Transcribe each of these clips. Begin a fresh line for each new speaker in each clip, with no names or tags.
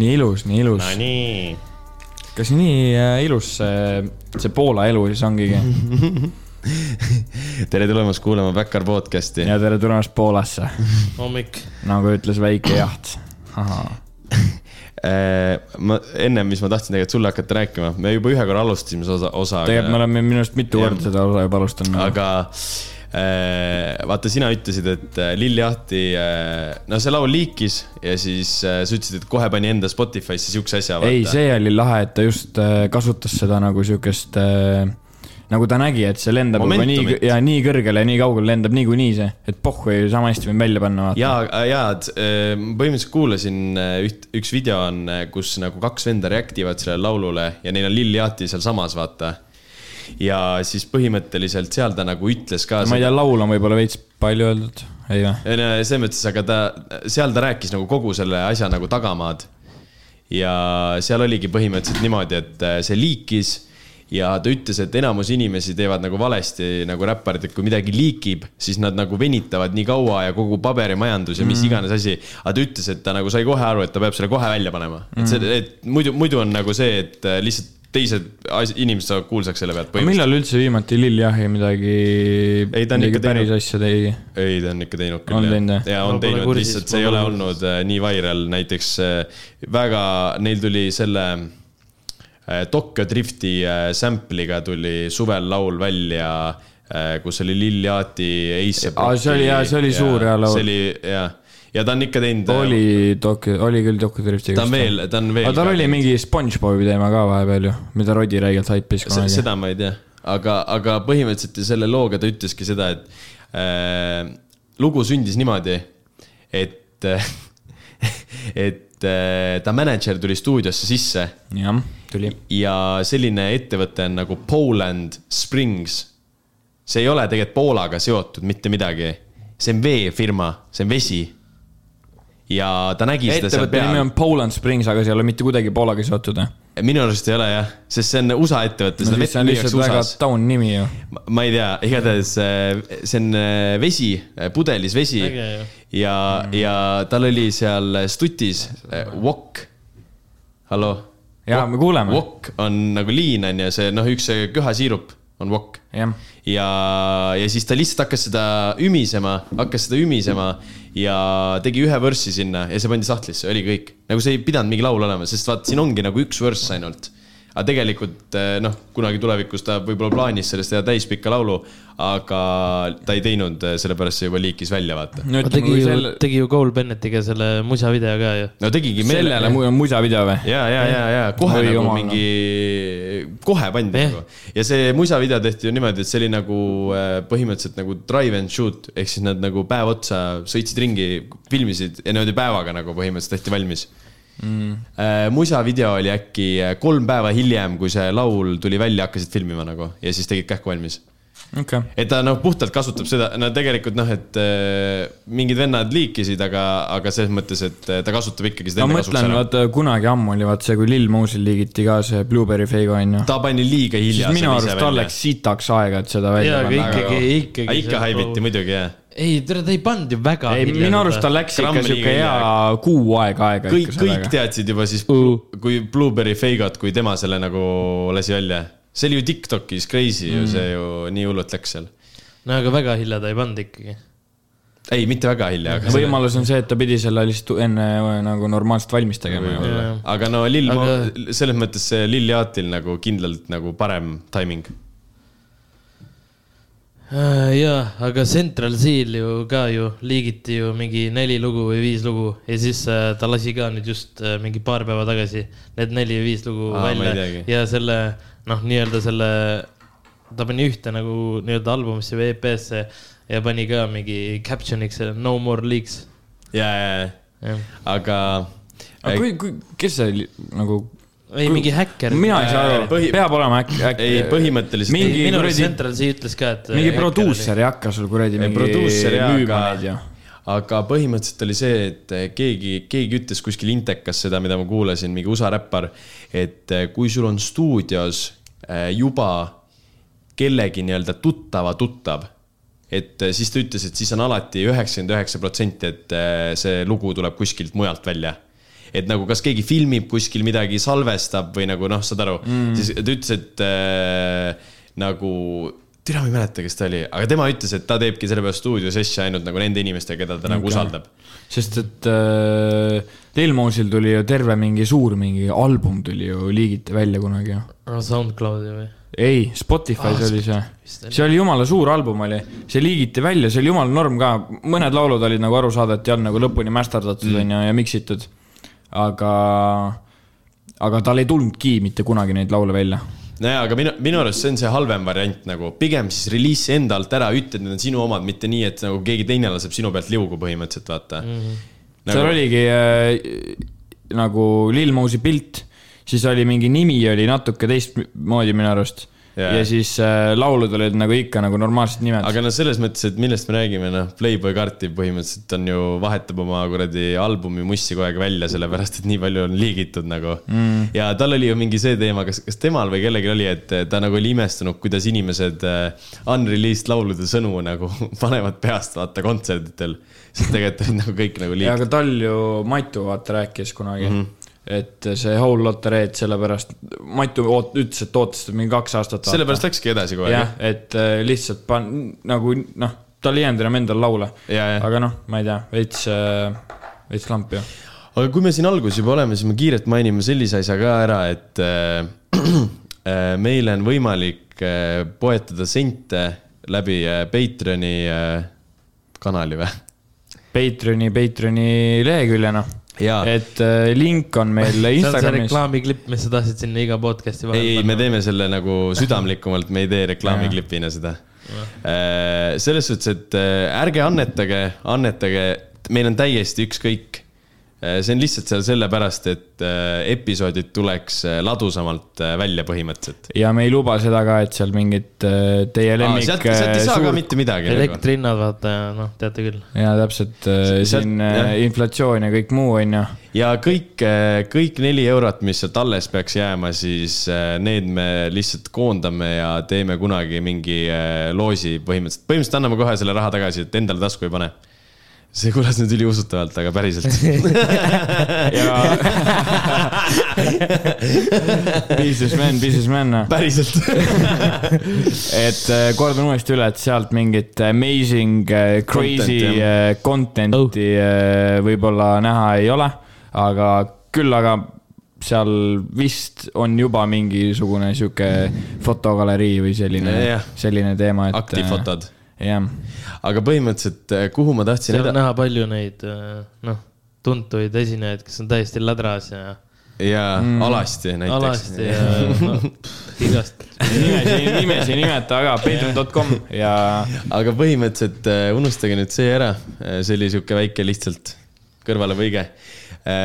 nii ilus , nii ilus
no
no, .
nii ,
kas nii äh, ilus see , see Poola elu siis ongi ?
tere tulemast kuulama Backyard podcast'i .
ja tere tulemast Poolasse ,
hommik .
nagu ütles väike jaht .
Äh, ma ennem , mis ma tahtsin tegelikult sulle hakata rääkima , me juba ühe korra alustasime seda osa, osa .
tegelikult me oleme minu arust mitu
Jah.
korda seda osa juba alustanud .
aga äh, vaata , sina ütlesid , et äh, Lill Jahti , no see laul liikis ja siis äh, sa ütlesid , et kohe pani enda Spotify'sse siukse asja .
ei , see oli lahe , et ta just äh, kasutas seda nagu siukest , nagu ta nägi , et see lendab juba nii
Momentumit.
ja nii kõrgele ja nii kaugele lendab niikuinii see , et pohhu ei sama hästi võin välja panna vaata .
ja , ja et, äh, ma põhimõtteliselt kuulasin äh, üht , üks video on , kus nagu kaks venda react ivad sellele laulule ja neil on Lill Jahti sealsamas , vaata . ja siis põhimõtteliselt seal ta nagu ütles ka .
ma ei tea , laul on võib-olla veits palju öeldud , ei või ?
ei no selles mõttes , aga ta , seal ta rääkis nagu kogu selle asja nagu tagamaad . ja seal oligi põhimõtteliselt niimoodi , et äh, see liikis ja ta ütles , et enamus inimesi teevad nagu valesti nagu räpparid , et kui midagi liikib , siis nad nagu venitavad nii kaua ja kogu paberimajandus ja
Mm.
mis iganes asi . aga ta ütles , et ta nagu sai kohe aru , et ta peab selle kohe välja panema , et
Mm.
see , et muidu , muidu on nagu see , et lihtsalt teised as- inimesed saavad kuulsaks selle pealt
aga
põhimõtteliselt .
millal üldse viimati Lill Jahi midegi ,
Ei, ta on
midagi
ikka teinud-
päris asja tegi ?
ei , ta on ikka teinud küll .
On teinud, jah?
ja
Ma
on
pole
teinud ,
kursis,
lihtsalt
ma
see ei ole
pole
olnud äh, nii viral , näiteks äh, väga , neil tuli selle äh, Tokyo Drifti äh, sample'iga tuli suvel laul välja äh, , kus oli Lil Yachty , Ace .
Aa, see oli- jaa, see oli suur hea laul.
see oli jah , ja ta on ikka teinud .
oli Tokyo , oli küll Tokyo Driftiga .
ta on veel , ta on veel .
aga tal oli mingi SpongeBobi teema ka vahepeal ju , mida Rodi räigelt haipis
Se-
kunagi .
seda ma ei tea , aga , aga põhimõtteliselt ju selle looga ta ütleski seda , et äh, lugu sündis niimoodi , et äh, , et äh, ta mänedžer tuli stuudiosse sisse
jah , tuli .
ja selline ettevõte on nagu Poland Springs . see ei ole tegelikult Poolaga seotud mitte midagi , see on veefirma , see on vesi . ja ta nägi seda seal
ettevõtte
peal
nimi . on Poland Springs , aga see ei ole mitte kuidagi Poolaga seotud . no
minu arust ei ole jah , sest see on USA ettevõte , seda
siis
vett
see on
müüakse
lihtsalt väga
USA-s .
taun nimi ju .
Ma- ma ei tea , igatahes äh, see on äh, vesi , pudelis vesi
Äge, jah. Mm.
ja , ja tal oli seal stutis äh, wokk . hallo ?
Jaa, me kuuleme.
wokk on nagu liin on ju , see noh , üks see köhasiirup on wokk .
jah ,
ja , ja siis ta lihtsalt hakkas seda ümisema , hakkas seda ümisema ja tegi ühe võrssi sinna ja see pandi sahtlisse , oli kõik . nagu see ei pidanud mingi laul olema , sest vaat siin ongi nagu üks vörss ainult . aga tegelikult eh, noh , kunagi tulevikus ta võib-olla plaanis sellest teha täispikka laulu , aga ta ei teinud , sellepärast see juba liikis välja , vaata .
no
tegi
ütleme , kui
ju
sel- ,,
tegi ju Cole Bennettiga selle musavideo ka ju .
no tegigi
sellele
meelele .
mu- muisa video või ?
ja , ja , ja , ja kohe
Oi
Oi, nagu
jumal,
mingi , kohe pandi
Jah.
yeah. nagu . ja see musavideo tehti ju niimoodi , et see oli nagu äh, põhimõtteliselt nagu drive and shoot ehk siis nad nagu päev otsa sõitsid ringi , filmisid ja niimoodi päevaga nagu põhimõtteliselt tehti valmis mm. . musavideo oli äkki äh, kolm päeva hiljem , kui see laul tuli välja , hakkasid filmima nagu ja siis tegid kähku valmis
okei ,
et ta noh , puhtalt kasutab seda , no tegelikult noh , et äh, mingid vennad liikisid , aga , aga selles mõttes , et äh, ta kasutab ikkagi seda
ma
enda kasuks
mõtlen ,
ära .
vaata kunagi ammu oli vaata see , kui Lil Mosil liigiti ka see Blueberry Fake on ju .
ta pani liiga
siis
hilja .
minu arust tal läks . sitaks aega , et seda välja
jaa , aga
panna .
ikkagi ,
aga
ikkagi .
ikka haibiti . muidugi jah .
ei , ta ei pannud ju väga .
ei , minu arust tal läks ikka
Grammi
siuke
liiga
hea kuu aega aega .
kõik , kõik teadsid juba siis , kui Blueberry Feigot , kui tema selle nagu lasi välja . see oli ju Tiktokis crazy ju , see ju nii hullult läks seal .
no aga väga hilja ta ei pannud ikkagi .
ei , mitte väga hilja , aga .
võimalus on see , et ta pidi selle lihtsalt enne nagu normaalselt valmis tegema ju .
Jaa.
aga no Lill
Aga-
aga... , selles mõttes see Lill Jaatil nagu kindlalt nagu parem timing .
Äh, jaa , aga Central Seal ju ka ju liigiti ju mingi neli lugu või viis lugu ja siis äh, ta lasi ka nüüd just äh, mingi paar päeva tagasi need neli või viis lugu
Aa, ma ei
välja
teagi.
ja selle noh , nii-öelda selle , ta pani ühte nagu nii-öelda albumisse või EP-sse ja pani ka mingi caption'iks selle No more leaks .
ja , ja ,
jah ,
ja , aga .
aga kui , kui , kes see oli, nagu ,
ei mingi häkker .
mina ei saa aru ,
põhi-
peab olema äkki , äkki .
ei , põhimõtteliselt .
mingi
minu arust
kuradi-
Central Sea ütles ka , et . eh,
mingi produusser ei hakka sul kuradi
Ei,
mingi
produusser jaa ,
müüma neid
aga
ju .,
aga põhimõtteliselt oli see , et eh, keegi , keegi ütles kuskil Intekas seda , mida ma kuulasin , mingi USA räppar , et eh, kui sul on stuudios äh, juba kellegi nii-öelda tuttava tuttav , et eh, siis ta eh, ütles , et siis on alati üheksakümmend üheksa protsenti , et äh, see lugu tuleb kuskilt mujalt välja . et nagu kas keegi filmib kuskil midagi , salvestab või nagu noh , saad aru mm. , siis ta ütles , et äh, nagu , tere , ma ei mäleta , kes ta oli , aga tema ütles , et ta teebki sellepärast stuudiosesse ainult nagu nende inimestega , keda ta okay. nagu usaldab .
sest et äh, Lil Mosil tuli ju terve mingi suur mingi album tuli ju liigiti välja kunagi ju .
SoundCloudi või ?
ei , Spotify's ah, oli see , see oli jumala suur album oli , see liigiti välja , see oli jumala norm ka , mõned laulud olid nagu aru saada , et ja on nagu lõpuni masterdatud onju mm. ja, ja mix itud . aga , aga tal ei tulnudki mitte kunagi neid laule välja .
nojah , aga minu , minu arust see on see halvem variant nagu , pigem siis reliisi enda alt ära , ütle , et need on sinu omad , mitte nii , et nagu keegi teine laseb sinu pealt liugu põhimõtteliselt , vaata mm . -hmm.
nagu... seal oligi äh, nagu Lil Mosi pilt , siis oli mingi nimi oli natuke teistmoodi minu arust
Jaa.
yeah. . ja siis äh, laulud olid nagu ikka nagu normaalsed nimed .
aga no selles mõttes , et millest me räägime , noh , Playboy karti põhimõtteliselt on ju , vahetab oma kuradi albumi mussi kogu aeg välja , sellepärast et nii palju on liigitud nagu mm. . ja tal oli ju mingi see teema , kas , kas temal või kellelgi oli , et ta nagu oli imestunud , kuidas inimesed äh, unreleased laulude sõnu nagu panevad peast vaata kontserditel . sest tegelikult olid nagu kõik nagu
ja
liigitud .
aga tal ju Matu vaata rääkis kunagi
Mhm.
mm , -hmm. et see Whole Lotta Red , sellepärast Matu oot- , ütles , et ootas seda mingi kaks aastat .
sellepärast läkski edasi kogu
jah
aeg ,.
et äh, lihtsalt pan- , nagu noh , tal ei jäänud enam endal laule .
ja , ja .
aga noh , ma ei tea , veits äh, , veits lamp ju .
aga kui me siin alguses juba oleme , siis me kiirelt mainime sellise asja ka ära , et äh, äh, meile on võimalik äh, poetada sente läbi äh, Patreoni äh, kanali või ?
Patreoni , Patreoni leheküljena .
jaa , ei ,
et äh, link on meil
see on see
Instagramis .
reklaamiklipp , mis sa tahtsid sinna iga podcast'i
ei , me teeme selle nagu südamlikumalt , me ei tee reklaamiklipina seda . selles suhtes , et äh, ärge annetage , annetage , meil on täiesti ükskõik . see on lihtsalt seal sellepärast , et äh, episoodid tuleks äh, ladusamalt äh, välja põhimõtteliselt .
ja me ei luba seda ka , et seal mingit äh, teie lemmik . äh,
sealt , sealt
äh,
ei saa ka mitte midagi .
elektrihinnad , vaata , noh , teate küll .
ja täpselt äh,
Sealt-
siin äh,
jah.
inflatsioon ja kõik muu on ju
ja kõik , kõik neli eurot , mis sealt alles peaks jääma , siis äh, need me lihtsalt koondame ja teeme kunagi mingi äh, loosi põhimõtteliselt . põhimõtteliselt anname kohe selle raha tagasi , et endale tasku ei pane . see kõlas nüüd üliusutavalt , aga päriselt .
ja businessman , businessman ,
päriselt .
et äh, kordan uuesti üle , et sealt mingit amazing , crazy
Content,
äh, content'i äh, võib-olla näha ei ole , aga küll , aga seal vist on juba mingisugune sihuke fotogalerii või selline
Jah. ,
selline teema , et .
aktifotod .
jah ,
aga põhimõtteliselt , kuhu ma tahtsin
seal on
eda- ,
näha palju neid , noh , tuntuid esinejaid , kes on täiesti ladras ja
jaa , Alasti näiteks .
Mm. alasti ja noh , igast .
nimesi , nimesi ei nimeta , aga patreon.com ja
aga põhimõtteliselt äh, unustage nüüd see ära , see oli sihuke väike lihtsalt kõrvalepõige .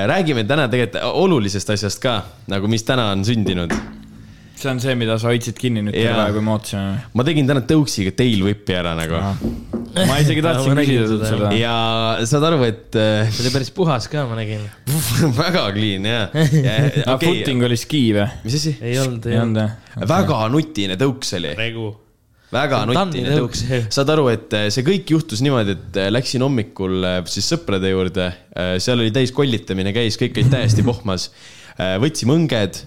räägime täna tegelikult olulisest asjast ka , nagu mis täna on sündinud .
see on see , mida sa hoidsid kinni nüüd
Jaa.
terve aeg , kui me ootasime
ma tegin täna tõuksiga tailwhip'i ära nagu
Ah. ma isegi
Ma
tahtsin
nägin
küsida sult
seda,
seda .
ja saad aru , et äh,
see oli päris puhas ka , ma nägin .
väga clean ja, ja
aga okay.
okay. .
footing oli ski või ?
mis asi ?
ei olnud ,
ei
ei olnud .
olnud
väga nutine tõuks oli ,
regu .
väga
See on
nutine
Tanni
tõuks
tõuks. .
saad aru , et äh, see kõik juhtus niimoodi , et äh, läksin hommikul äh, siis sõprade juurde , seal oli täis kollitamine käis , kõik olid täiesti pohmas . võtsime õnged ,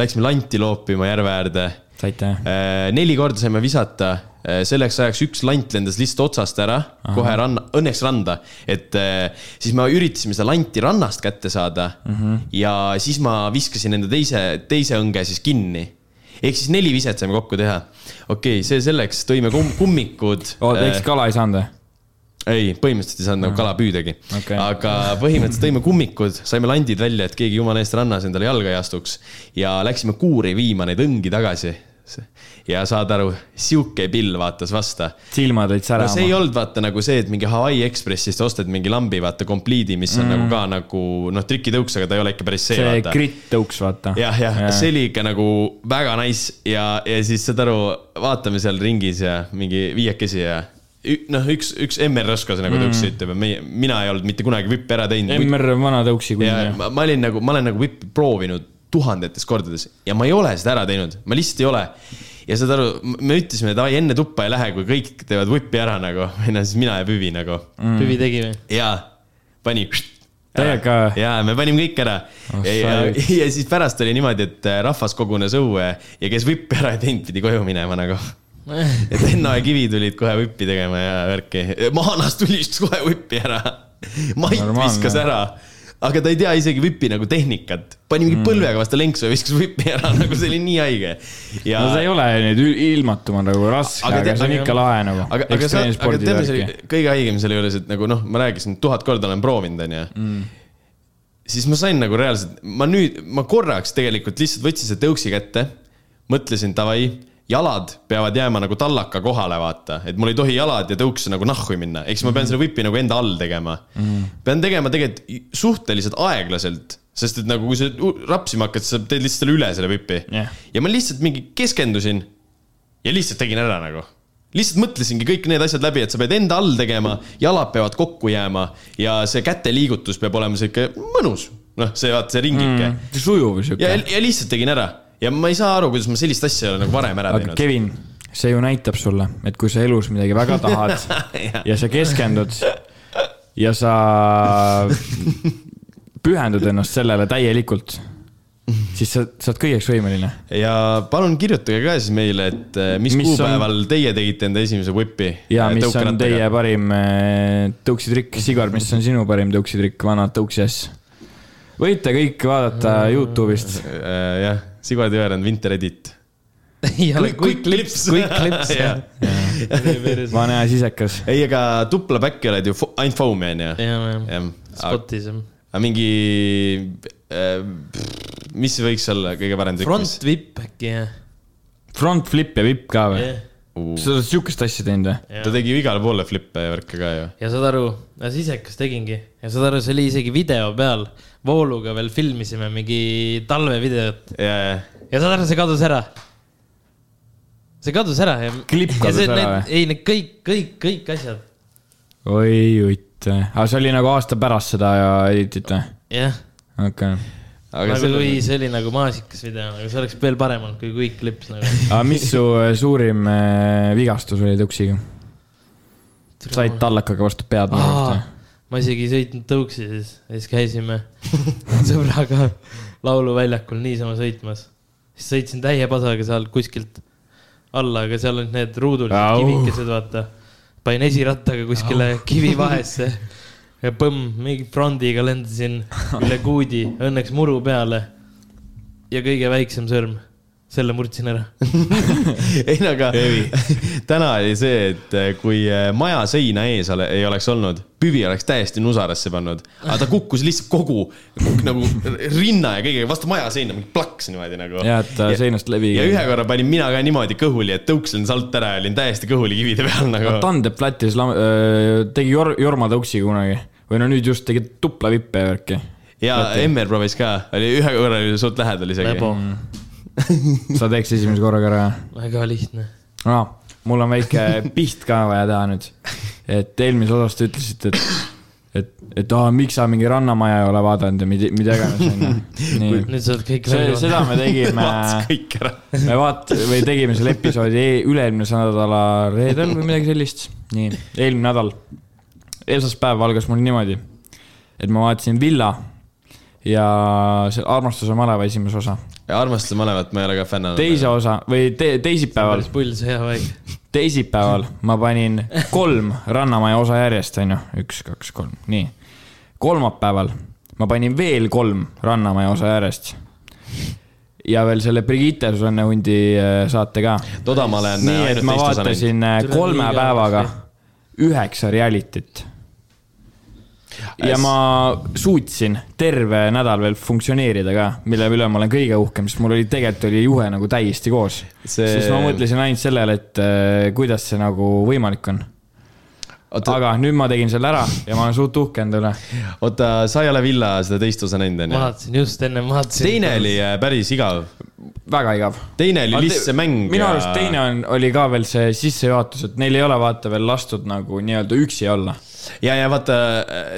läksime lanti loopima järve äärde .
saite jah ?
Äh, neli korda saime visata , selleks ajaks üks lant lendas lihtsalt otsast ära , kohe ranna , õnneks randa . et äh, siis me üritasime seda lanti rannast kätte saada mm
Mhm.
-hmm. ja siis ma viskasin enda teise , teise õnge siis kinni ehk siis neli viset saime kokku teha . okei okay, , see selleks , tõime kum- , kummikud . äh,
oota , eks kala ei saanud või ?
ei , põhimõtteliselt ei saanud nagu kala püüdagi
Okei.
okay. . aga põhimõtteliselt tõime kummikud , saime landid välja , et keegi jumala eest rannas endale jalga ei astuks ja läksime kuuri viima neid õngi tagasi . ja saad aru , sihuke pill vaatas vasta
silmad olid
no see
särama
ei . olnud vaata nagu see , et mingi Hawaii Expressist ostad mingi lambi , vaata , kompliidi , mis on mm. nagu ka nagu noh , trikitõuks , aga ta ei ole ikka päris see,
see
vaata .
grit tõuks , vaata .
jah , jah , see . oli ikka nagu väga nice ja , ja siis saad aru , vaatame seal ringis ja mingi viiekesi ja ü- noh , üks , üks MR Rõskos nagu mm. tõuksis , ütleb , meie , mina ei olnud mitte kunagi vippe ära teinud .
MR on vana tõuksi
ja
kunagi .
ma, ma olin nagu , ma olen nagu vippi proovinud tuhandetes kordades ja ma ei ole seda ära teinud , ma lihtsalt ei ole . ja saad aru , me ütlesime , davai enne tuppa ei lähe , kui kõik
Mm.
Mm.
teevad vippi ära nagu , no siis mina ei püvi nagu
Püvi tegi või ?
ja pani
täiega .
ja me panime kõik ära
Oh,
oh, . Ja,
shit.
ja siis pärast oli niimoodi , et äh, rahvas kogunes õue ja kes vippi ära ei teinud , pidi koju minema nagu . et Enno ja Kivi tulid kohe vippi tegema ja värki . Maanas tulistas kohe vippi ära . Mait
Normaalne.
viskas ära . aga ta ei tea isegi vipi nagu tehnikat . pani
Mm.
mingi põlvega vastu lenksu ja viskas vipi ära , nagu see oli nii haige . ja
no see ei ole nüüd ül- ilmatuma nagu raske ,
Aga
aga,
te-
aga see on
aga-
ikka lahe nagu .
aga , aga see , aga tead , mis oli kõige haigem selle juures , et nagu noh , ma rääkisin , tuhat korda olen proovinud , onju . siis ma sain nagu reaalselt , ma nüüd , ma korraks tegelikult lihtsalt võtsin selle tõuksi kätte , mõtlesin davai , jalad peavad jääma nagu tallaka kohale , vaata , et mul ei tohi jalad ja tõuks nagu nahku minna , ehk siis ma pean selle vipi nagu enda all tegema mm. . pean tegema tegelikult suhteliselt aeglaselt , sest et nagu kui sa u- rapsima hakkad , sa teed lihtsalt selle üle selle vipi
Jah.
ja ma lihtsalt mingi keskendusin ja lihtsalt tegin ära nagu . lihtsalt mõtlesingi kõik need asjad läbi , et sa pead enda all tegema , jalad peavad kokku jääma ja see käteliigutus peab olema sihuke mõnus . noh , see vaata see ringike mm.
sujuv
ja
siuke .,
ja lihtsalt tegin ära ja ma ei saa aru , kuidas ma sellist asja ei ole nagu varem ära
aga
teinud .
Kevin , see ju näitab sulle , et kui sa elus midagi väga tahad ja sa keskendud ja sa pühendud ennast sellele täielikult , siis sa sa oled kõigeks võimeline .
ja palun kirjutage ka siis meile , et eh, mis,
Mis
mis
on-
kuupäeval on... teie tegite enda esimese whip'i . eh,
ja mis on teie ? parim äh, tõuksitrikk , Sigar , mis on sinu parim tõuksitrikk , vana tõuksi asja ? võite kõik vaadata Youtube'ist ,
Eh, jah , Sigur Tüverand , Winter Edit .
ja kõik klips , kõik klips
Jah.
jah . ja ,
vana ja sisekas .
ei , aga tupla back'i oled ju fo- ainult foam'i onju .
jah ,
jah .
spotis jah .
aga mingi äh, , mis see võiks olla kõige parem
front ? vipp äkki jah
Front flip ja vipp ka või ?
jah.
sa oled siukest asja teinud või ?
Jah.
ta tegi ju igale poole flippe ja värke ka ju .
ja saad aru , sisekas tegingi ja saad aru , see oli isegi video peal , vooluga veel filmisime mingi talvevideot
ja , ja ,
ja saad aru , see kadus ära . see kadus ära ja .
Klipp kadus ära või?
ei , need kõik , kõik , kõik asjad ,
oi utt , aga see oli nagu aasta pärast seda ja editit või ?
jah .
okei okay. .
aga
aga
see
Nagu kui
oli ,
see oli nagu maasikas video , aga see oleks veel parem olnud , kui kõik klips nagu .
aga mis su äh, suurim äh, vigastus oli tõuksiga ? said tallakaga vastu pead nagu
Aa,
vastu ?
ma isegi ei sõitnud tõuksi siis , siis käisime sõbraga lauluväljakul niisama sõitmas . siis sõitsin täie pasaga seal kuskilt alla , aga seal olid need ruudulised
Au.
kivikesed , vaata . panin esirattaga kuskile kivi vahesse ja põmm , mingi frondiga lendasin üle kuudi , õnneks muru peale . ja kõige väiksem sõrm , selle murdsin ära .
ei no aga täna oli see , et eh, kui eh, maja seina ees ole, ei oleks olnud , püvi oleks täiesti nusarasse pannud , aga ta kukkus lihtsalt kogu kuk, nagu rinna ja kõigega vastu maja seina , mingi plaks niimoodi nagu .
ja , et äh, seinast läbi .
ja ühe korra panin mina ka niimoodi kõhuli , et tõuksin salt ära ja olin täiesti kõhuli kivide peal nagu .
Tandep Lätis lam- öö, tegi Jor- , Jorma tõuksiga kunagi või no nüüd just tegi tupla vippe ja värki .
ja Emmer proovis ka , oli ühe korra oli suht lähedal isegi .
lebo ,
mm. sa teeks esimese korraga ära
väga lihtne .
no, ? mul on väike piht ka vaja teha nüüd . et eelmises osas te ütlesite , et , et , et aa , miks sa mingi rannamaja ei ole vaadanud ja mida , mida iganes onju . nii ,
nüüd sa oled kõik
see ,
välja .
seda me tegime ,
vaatas kõik ära .
me vaat- , või tegime selle episoodi e- üle-eelmise nädala reedel või midagi sellist . nii , eelmine nädal esmaspäev algas mul niimoodi , et ma vaatasin Villa ja see Armastuse maleva esimese osa ,
armastuse malevat ma ei ole ka fänn olnud .
teise osa või te teisipäeval
päris , pull sõjaväe .
teisipäeval ma panin kolm Rannamaja osa järjest , onju , üks , kaks , kolm , nii . kolmapäeval ma panin veel kolm Rannamaja osa järjest . ja veel selle Brigitte Susanne Hundi äh, saate ka
toda ma olen
nii , et
ainult
ma
teist osa näinud .
vaatasin äh,
Tule
kolme
liiga
päevaga
halvasti.
üheksa reality't . ja ma suutsin terve nädal veel funktsioneerida ka , mille üle ma olen kõige uhkem , sest mul oli tegelikult oli juhe nagu täiesti koos see... .
See-
siis ma mõtlesin ainult sellele , et äh, kuidas see nagu võimalik on .
oota ,
aga nüüd ma tegin selle ära ja ma olen suht uhke enda üle .
oota , sa ei ole Villa seda teist osa näinud ,
ma
onju ?
vaatasin just enne , ma vaatasin .
teine oli äh, päris igav .
väga igav
teine oli
Aga
lihtsalt see mäng .
minu arust teine on , oli ka veel see sissejuhatus , et neil ei ole vaata veel lastud nagu nii-öelda üksi olla .
ja , ja vaata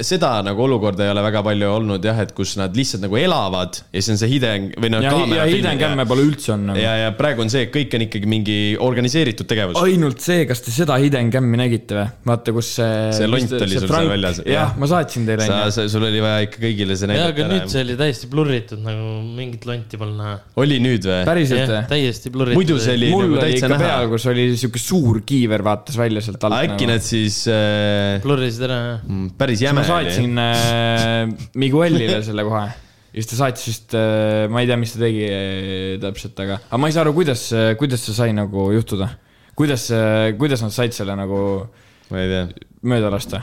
seda nagu olukorda ei ole väga palju olnud jah , et kus nad lihtsalt nagu elavad ja siis on see hideng või noh .
ja , ja Hiden Kämme pole üldse on nagu .
ja , ja praegu on see , et kõik on ikkagi mingi organiseeritud tegevus .
ainult see , kas te seda Hiden Kämmi nägite või ? vaata , kus see .
See lont oli sul seal väljas.
jah
Jah. ,
ma saatsin teile .
sa , sul oli vaja ikka kõigile see
jaa , aga
näidata
nüüd . see oli täiesti blurritud nagu mingit lonti pole näha .
oli nüüd või ?
päriselt või ?
täiesti blurritud .
muidu see oli
mul
nagu
oli
täitsa
ikka
näha
peal ,. kus oli siuke suur kiiver vaatas välja sealt alt .
äkki nad siis äh,
blurrisid ära jah .
mm, päris
ma
jäme oli .
saatsin äh, Miguelile selle kohe . ja siis ta saatis vist äh, , ma ei tea , mis ta tegi äh, täpselt , aga , aga ma ei saa aru , kuidas , kuidas see sai nagu juhtuda . kuidas , kuidas nad said selle nagu
ma ei tea .
mööda lasta ?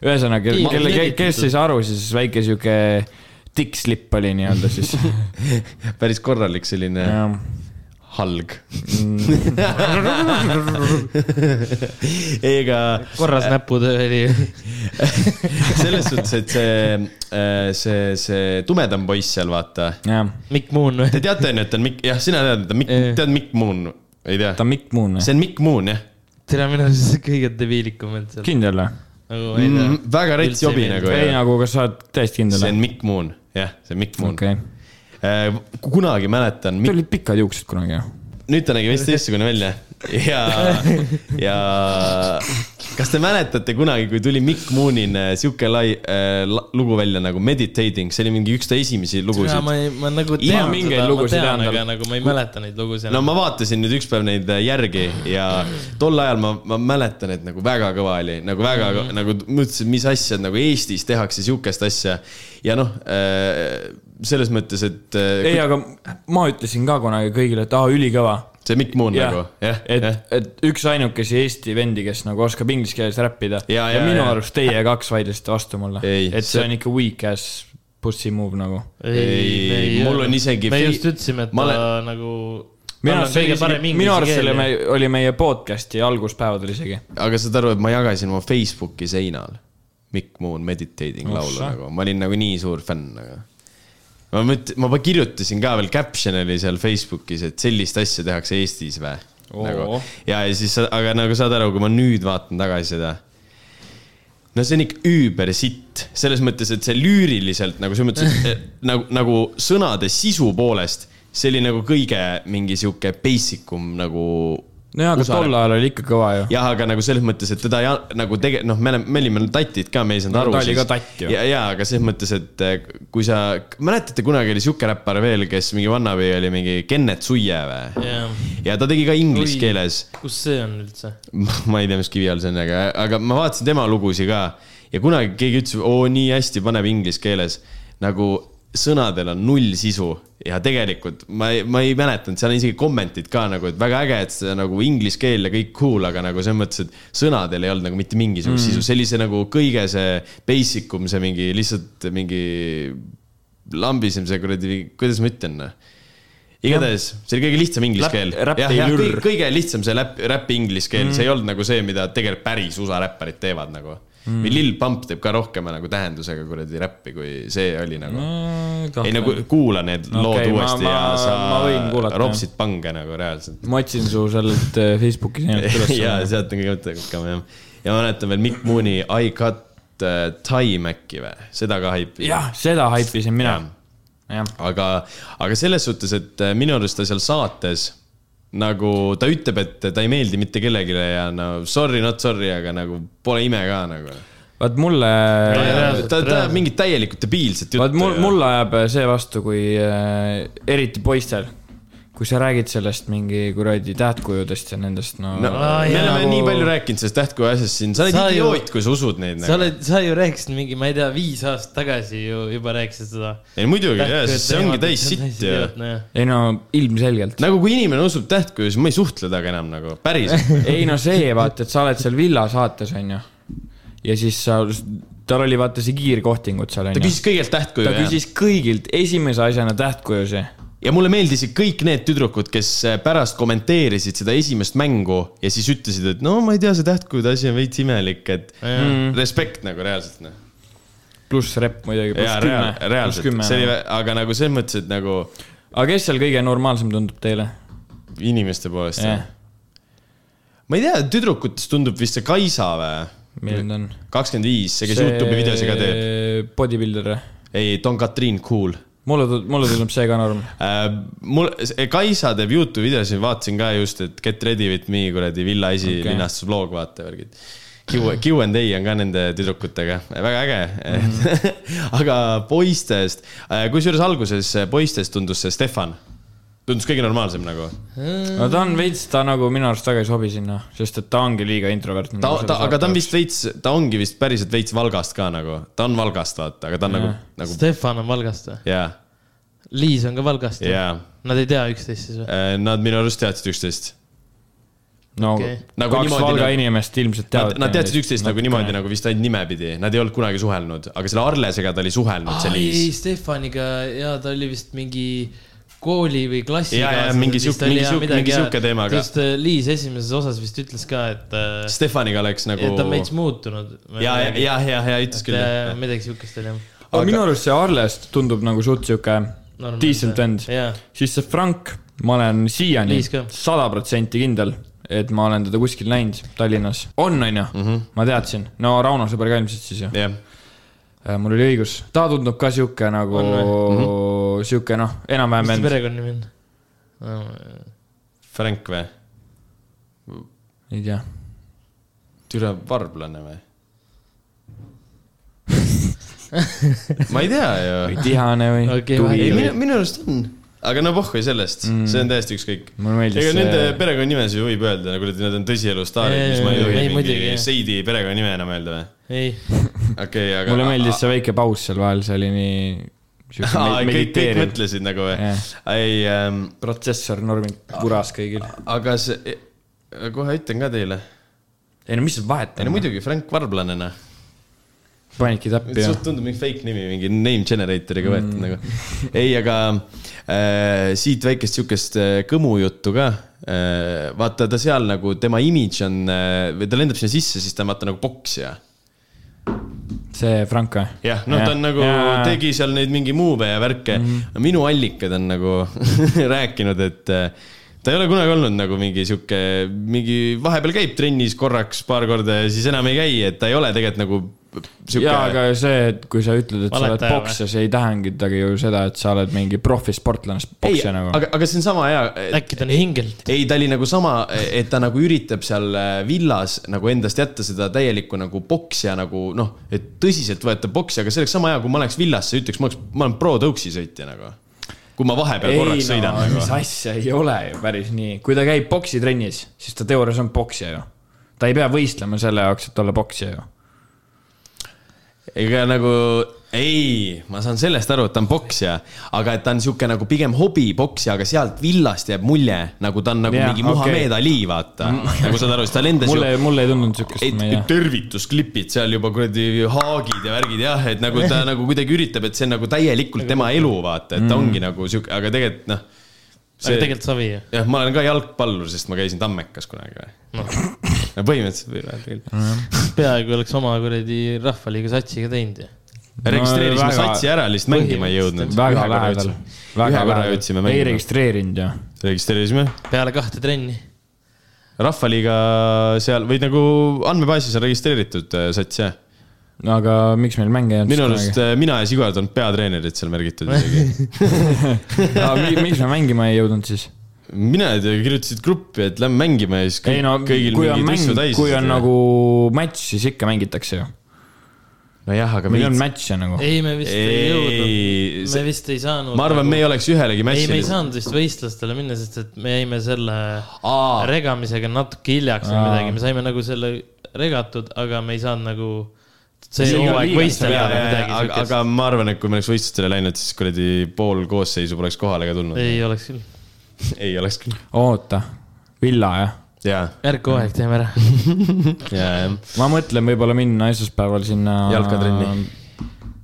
ühesõnaga ,
Ei,
kelle ,
legitiimselt.
kes ei saa aru , siis väike siuke tikk-slipp oli nii-öelda siis .
päris korralik selline halg .
Mm.
ei , aga
korras näputöö oli .
selles suhtes , et see , see , see tumedam poiss seal , vaata .
jah ,
Mikk Moon või
Te ? teate , onju , et ta on Mikk , jah , sina tead , et ta on Mikk
Jah. ,
tead Mikk Moon , ei
ta
tea ?
on Mikk Moon või ?
see on Mikk Moon , jah .
tere , minu arust see kõige debiilikum end seal .
kindel või ?
nagu ma ei
Mm-hmm.
tea mm, .
väga rets
Üldse ei
jobi
meeldi.
nagu ,
ei
jah .
nagu , kas sa oled täiesti kindel
see
või ?
on Mikk Moon , jah , see on Mikk Moon .
okei ,
kunagi mäletan ,
tal olid pikad juuksed kunagi ju .
nüüd ta nägi vist teistsugune välja ja , ja kas te mäletate kunagi , kui tuli Mikk Moonine sihuke lai äh, la- lugu välja nagu Meditating , see oli mingi üks ta esimesi lugusid .
ma ei , ma nagu
Ilma
tean
mingeid
seda , ma
lugusid
tean ,
ei
aga
andnud.
nagu ma ei mäleta neid lugusid
no
enam .
ma vaatasin nüüd ükspäev neid äh, järgi ja tol ajal ma , ma mäletan , et nagu väga kõva oli , nagu väga
Mhm.
mm , -hmm. nagu mõtlesin , mis asja et nagu Eestis tehakse sihukest asja . ja noh , selles mõttes , et äh,
ei , aga ma ütlesin ka kunagi kõigile , et aa , ülikõva .
see Mikk Moon
jah
nagu , jah ,
et
jah ,,
et üksainukesi Eesti vendi , kes nagu oskab inglise keeles räppida .
Ja,
ja,
ja,
ja minu
ja.
arust teie kaks vaidlesite vastu mulle .
Ei,
et see
see-
on ikka weak ass pussy move nagu .
Ei, mul on isegi
me
fei-
just ütlesime , et
Ma
ta
olen-
nagu .
minu arust see oli , minu arust see oli , oli meie podcast'i alguspäevadel isegi .
aga saad aru , et ma jagasin oma Facebooki seinal Mikk Moon Meditating laulu
Ossa.
nagu , ma olin nagu nii suur fänn , aga ma mõt- , ma pa- kirjutasin ka veel , caption oli seal Facebookis , et sellist asja tehakse Eestis vä ? nagu
Oo. ,
ja , ja siis , aga nagu saad aru , kui ma nüüd vaatan tagasi seda . no see on ikka üüber sitt , selles mõttes , et see lüüriliselt nagu selles mõttes , et nagu , nagu sõnade sisu poolest , see oli nagu kõige mingi sihuke basic um nagu .
nojah , aga tol ajal oli ikka kõva ju .
jah , aga nagu selles mõttes , et teda ei an- nagu tege- , noh , me oleme , me olime tatid ka , me ei saanud
No
aru .
ta oli ka tatt ju.
ja , ja aga selles mõttes , et eh, kui sa , mäletate , kunagi oli sihuke räppar veel , kes mingi vannabi oli mingi Kennet Suie või ? ja ta tegi ka inglise
Oi.
keeles
kus see on üldse ?
ma ei tea , mis kivi all see on , aga , aga ma vaatasin tema lugusid ka ja kunagi keegi ütles , oo nii hästi paneb inglise keeles nagu sõnadel on null sisu ja tegelikult ma ei , ma ei mäletanud , seal on isegi kommentid ka nagu , et väga äge , et see nagu inglise keel ja kõik cool , aga nagu selles mõttes , et sõnadel ei olnud nagu mitte mingisugust mm. sisu , sellise nagu kõige see basic um , see mingi lihtsalt mingi lambisem , see kuradi , kuidas ma ütlen noh. igatahes , see oli kõige lihtsam inglise
Läpp-
keel .
räpp
jah ,
ei
jah ,
lürr.
kõige lihtsam see läpp , räppi inglise keel mm. , see ei olnud nagu see , mida tegelikult päris USA räpparid teevad nagu mm. . või Lil Pump teeb ka rohkem nagu tähendusega kuradi räppi , kui see oli nagu no, . ei nagu kuula need
No
no, lood
okei,
okay,
ma-
uuesti
ma-
ma, ja
ma võin
sa
kuulata,
ropsid pange nagu reaalselt .
ma otsin su sellelt äh, Facebooki seinalt
ja
üles .
sealt on kõige mõttekam jah . ja ma mäletan veel Mikk Mooney I cut äh, time äkki või , seda ka haipi .
jah , seda haipisin mina . jah ,
aga , aga selles suhtes , et äh, minu arust ta seal saates nagu ta ütleb , et ta ei meeldi mitte kellelegi ja no sorry , not sorry , aga nagu pole ime ka nagu .
vaat mulle .
reaalselt,
ta , ta
reaalselt.
mingit täielikult debiilset juttu .
vaat mul , mul ajab see vastu , kui äh, eriti poistel , kui sa räägid sellest mingi kuradi tähtkujudest ja nendest , no,
no,
no. .
Aa,
me
jaa,
oleme nagu...
nagu-
nii palju rääkinud sellest tähtkuju asjast siin , sa oled
Sa ju-
idioot , kui sa usud neid
sa
nagu. .
oled , sa ju rääkisid mingi , ma ei tea , viis aastat tagasi ju juba rääkisid seda .
ei muidugi , jaa , sest see ongi täis sitt ju .
ei no ilmselgelt .
nagu kui inimene usub tähtkuju , siis ma ei suhtle temaga enam nagu , päriselt .
ei no see , vaata , et sa oled seal villasaates , onju . ja siis sa , tal oli vaata see kiirkohtingud seal ,
ta
onju .
küsis kõigelt tähtkuju .
ta küsis kõigilt esimese asjana tähtkujusi .
ja mulle meeldisid kõik need tüdrukud , kes äh, pärast kommenteerisid seda esimest mängu ja siis ütlesid , et no ma ei tea , see tähtkujude asi on veits imelik , et mm. respekt nagu reaalselt noh .
pluss rep muidugi ,
jaa ,
pluss
rea-
kümme , pluss
reaalselt , see oli
kümme .,
aga nagu selles mõttes , et nagu
aga kes seal kõige normaalsem tundub teile ?
inimeste poolest
jah
yeah. . ma ei tea , tüdrukutest tundub vist see Kaisa või ?
milline ta on ?
kakskümmend viis , see kes Youtube'i videosi ka teeb .
teeb . Bodybuilder või ?
ei , Don Katrin Cool
mulle , mulle tundub see ka norm .
Äh, mul , Kaisa teeb Youtube'i videosid , vaatasin ka just , et Get ready with me kuradi Villa esi
Okei.
okay. linastusvlog , vaata värgid . Q , Q and A on ka nende tüdrukutega , väga äge mm . -hmm. aga poistest , kusjuures alguses poistest tundus see Stefan , tundus kõige normaalsem nagu .
no ta on veits , ta nagu minu arust väga ei sobi sinna , sest et ta ongi liiga introvertne .
ta , ta , aga ta on . vist veits , ta ongi vist päriselt veits Valgast ka nagu , ta on Valgast , vaata , aga ta on
Jah.
nagu , nagu
Stefan on Valgast või ?
jaa ,
Liis on ka Valgast või ?
jaa .
Nad ei tea üksteist siis või ?
Nad minu arust teadsid üksteist
no
Okei.
Nagu
nagu kaks
niimoodi
Valga
nad-
nagu... inimest ilmselt
Nad,
teavad .
nad teadsid üksteist nagu niimoodi , nagu vist ainult nimepidi , nad ei olnud kunagi suhelnud , aga selle Arlesega ta oli suhelnud , see
ei , ei
Liis .
Stefaniga ja ta oli vist mingi kooli või klassi .
Jaa, jaa, mingi siuk- mingi siuk- mingi siuke teemaga.
just äh, Liis esimeses osas vist ütles ka , et äh,
Stefaniga läks nagu
et ta on veits muutunud .
ja , ja , ja , ja , ja ütles küll .
äh, midagi siukest oli jah .
aga minu arust see Arlest tundub nagu suht sihuke
Normaalne.
decent vend .
jaa ,
siis see Frank , ma olen siiani
Liis ka.
sada protsenti kindel , et ma olen teda kuskil näinud Tallinnas . on , onju ? ma teadsin . no Rauno sõber ka ilmselt siis ju .
jah ,
Äh, mul oli õigus , ta tundub ka sihuke nagu
On või? ,
sihuke noh , enam-vähem
mis ta
vend .
perekonnanimi on no, ? äh,
Frank või ?
ei tea ,
Türa varblane või ? ma ei tea ju .
tihane või okay,
ei ,
Okei,
tuvi või
minu , minu arust on . aga no pohhui sellest mm. , see on täiesti ükskõik .
mulle meeldis
ega nende
see ,
perekonnanimesid võib öelda , nagu nad on tõsielus staarid ,
Ei,
mis ma ei
ei,
tohi
ei, muidugi,
mingi
jah.
Seidi perekonnanime enam öelda või ?
ei ,
okei , aga .
mulle meeldis see väike paus seal vahel , see oli nii sihuke
Aa,
me-
kõik , kõik
mediteeriv .
mõtlesid nagu või
Jah. ?
ei ähm, ,
protsessor normid puras kõigil .
aga see , kohe ütlen ka teile .
ei no mis seal vahet
ei no
on ,
muidugi , Frank Varblanena .
panidki täppi ja
suht tundub mingi fake nimi , mingi name generator'iga võetud mm. nagu . ei , aga äh, siit väikest sihukest äh, kõmujuttu ka äh, . vaata ta seal nagu , tema imidž on äh, , või ta lendab sinna sisse , siis ta on vaata nagu poksija .
see Frank või ?
jah , noh , ta on nagu , tegi seal neid mingi move'e ja värke mm .
Mhm.
-hmm. minu allikad on nagu rääkinud , et äh, ta ei ole kunagi olnud nagu mingi sihuke , mingi vahepeal käib trennis korraks paar korda ja siis enam ei käi , et ta ei ole tegelikult nagu sihuke
jaa , aga see , et kui sa ütled , et sa oled
Valetaja või?
poksja , see ei tähendagi ju seda , et sa oled mingi profisportlane ,
ei ,
poksja nagu .
aga , aga see on sama hea .
äkki ta on hingelt .
ei , ta oli nagu sama , et ta nagu üritab seal villas nagu endast jätta seda täielikku nagu poksja nagu noh , et tõsiseltvõetav poksja , aga see oleks sama hea , kui ma läheks villasse ja ütleks , ma oleks , ma olen pro-tõuksi sõitja nagu . kui ma vahepeal korraks
ei
sõidan nagu
mis . asja , ei ole ju päris nii , kui ta käib poksitrennis , siis ta teoorias on poksija ju . ta ei pea võistlema selle jaoks , et olla poksija ju .
ega nagu ei , ma saan sellest aru , et ta on poksja , aga et ta on sihuke nagu pigem hobipoksja , aga sealt villast jääb mulje , nagu ta on nagu
Jaa,
yeah, mingi Muhamed
okei. Mm.
okay. Ali , vaata . nagu saad aru , siis ta lendas ju
mulle , mulle ei tundunud siukest ,
et
ma ei tea .
tervitusklipid seal juba kuradi haagid ja värgid jah , et nagu ta nagu kuidagi üritab , et see on nagu täielikult tema elu , vaata ,
Mm.
et ta ongi nagu sihuke , aga tegelikult noh .
aga tegelikult savi ju .
jah , ma olen ka jalgpallur , sest ma käisin Tammekas kunagi või
Noh.
no. . põhimõtteliselt võib öelda küll .
Mm.
peaaegu oleks oma kuradi rahvaliiga satsiga teinud ju .
registreerisime
väga-
satsi ära , lihtsalt mängima ei jõudnud .
väga lähedal .
ühe korra jõudsime
ei
mängima .
registreerinud ju .
registreerisime ,
peale kahte trenni .
Rahvaliiga seal või nagu andmebaasis on registreeritud äh, sats jah .
no aga miks meil mänge ei olnud ?
minu arust . äh, mina ja Sigurd on peatreenerid seal märgitud isegi .
miks me mängima ei jõudnud siis ?
mina ei tea , kirjutasid gruppi , et lähme mängime ja siis kõik,
ei no ,
kõigil
kui on
mingid
mäng
ussu , täis .
kui on nagu matš , siis ikka mängitakse ju .
nojah , aga
meil ei
meil
olnud
on .
matši nagu .
ei , me vist ei,
Oh. ei ,
ei jõudnud , me vist ei saanud .
ma arvan , me ei oleks ühelegi
ei , me ei
matšile .
saanud vist võistlustele minna , sest et me jäime selle
Aa.
regamisega natuke hiljaks või
Aa.
midagi , me saime nagu selle regatud , aga me ei saanud nagu see
Liiga-
hooaeg
liiga-
võistelda või midagi
aga ,
siukest .
aga ma arvan , et kui me oleks võistlustele läinud , siis kuradi pool koosseisu poleks kohale ka tulnud .
ei oleks küll .
ei oleks küll .
oota , Villa jah ?
ja ,
Erko Aeg , teeme ära .
ja , jah .
ma mõtlen võib-olla minna esmaspäeval sinna .
Jalkatrenni. .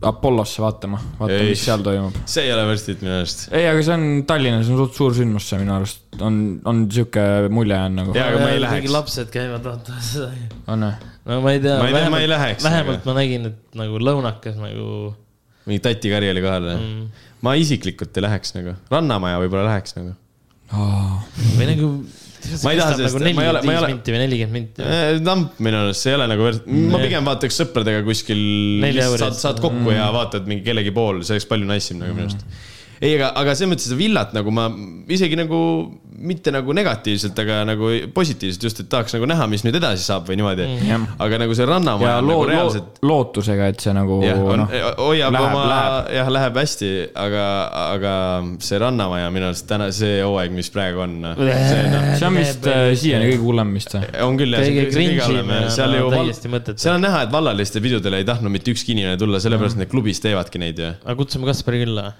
Apollosse vaatama , vaatame ,
Ei.
mis seal toimub .
see ei ole võrdselt minu arust .
ei , aga see on Tallinnas on suht suur sündmus , see minu arust on , on sihuke mulje on nagu .
Jaa, aga ma ei läheks.
lapsed käivad vaatamas seda .
on või ?
no ma ei tea .
Ma ei tea, ma ei läheks,
vähemalt ma nägin , et nagu lõunakas nagu
mingi tatikari oli kohal mm. . ma isiklikult ei läheks nagu , Rannamaja võib-olla läheks nagu .
Oh,
või nagu
ma ei taha sellest
nagu ,
ma ei ole , ma ei ole
nelikümmend viis , minti või nelikümmend minti .
Eh, Tamp minu arust , see ei ole nagu , ma
Jah.
pigem vaataks sõpradega kuskil ,
Nelja juures.
saad , saad kokku ja vaatad mingi kellegi pool , see oleks palju nice im nagu minu arust . ei , aga , aga selles mõttes seda villat nagu ma isegi nagu mitte nagu negatiivselt , aga nagu positiivselt just , et tahaks nagu näha , mis nüüd edasi saab või niimoodi
Jah. .
aga nagu see
Mm. ja
rannamaja on
loo-
nagu , reaalselt
loo- , lootusega , et see nagu
jah , on eh,
noh ,,
hoiab
läheb-
oma
läheb. ,
jah , läheb hästi , aga , aga see Rannamaja minu arust täna , see hooaeg , mis praegu on , see noh ,
see on vist äh, siiani kõige hullem vist või ?
on küll jah ,
Äh.
see
Kõige
on kõige
cringe'im
halvem jah.
ja
seal
no
ju val-
täiesti mõttetu.
seal on näha , et vallaliste pidudele ei tahtnud mitte ükski inimene tulla ,
Mm.
sellepärast need klubis teevadki neid ju .
aga kutsume Kaspari külla .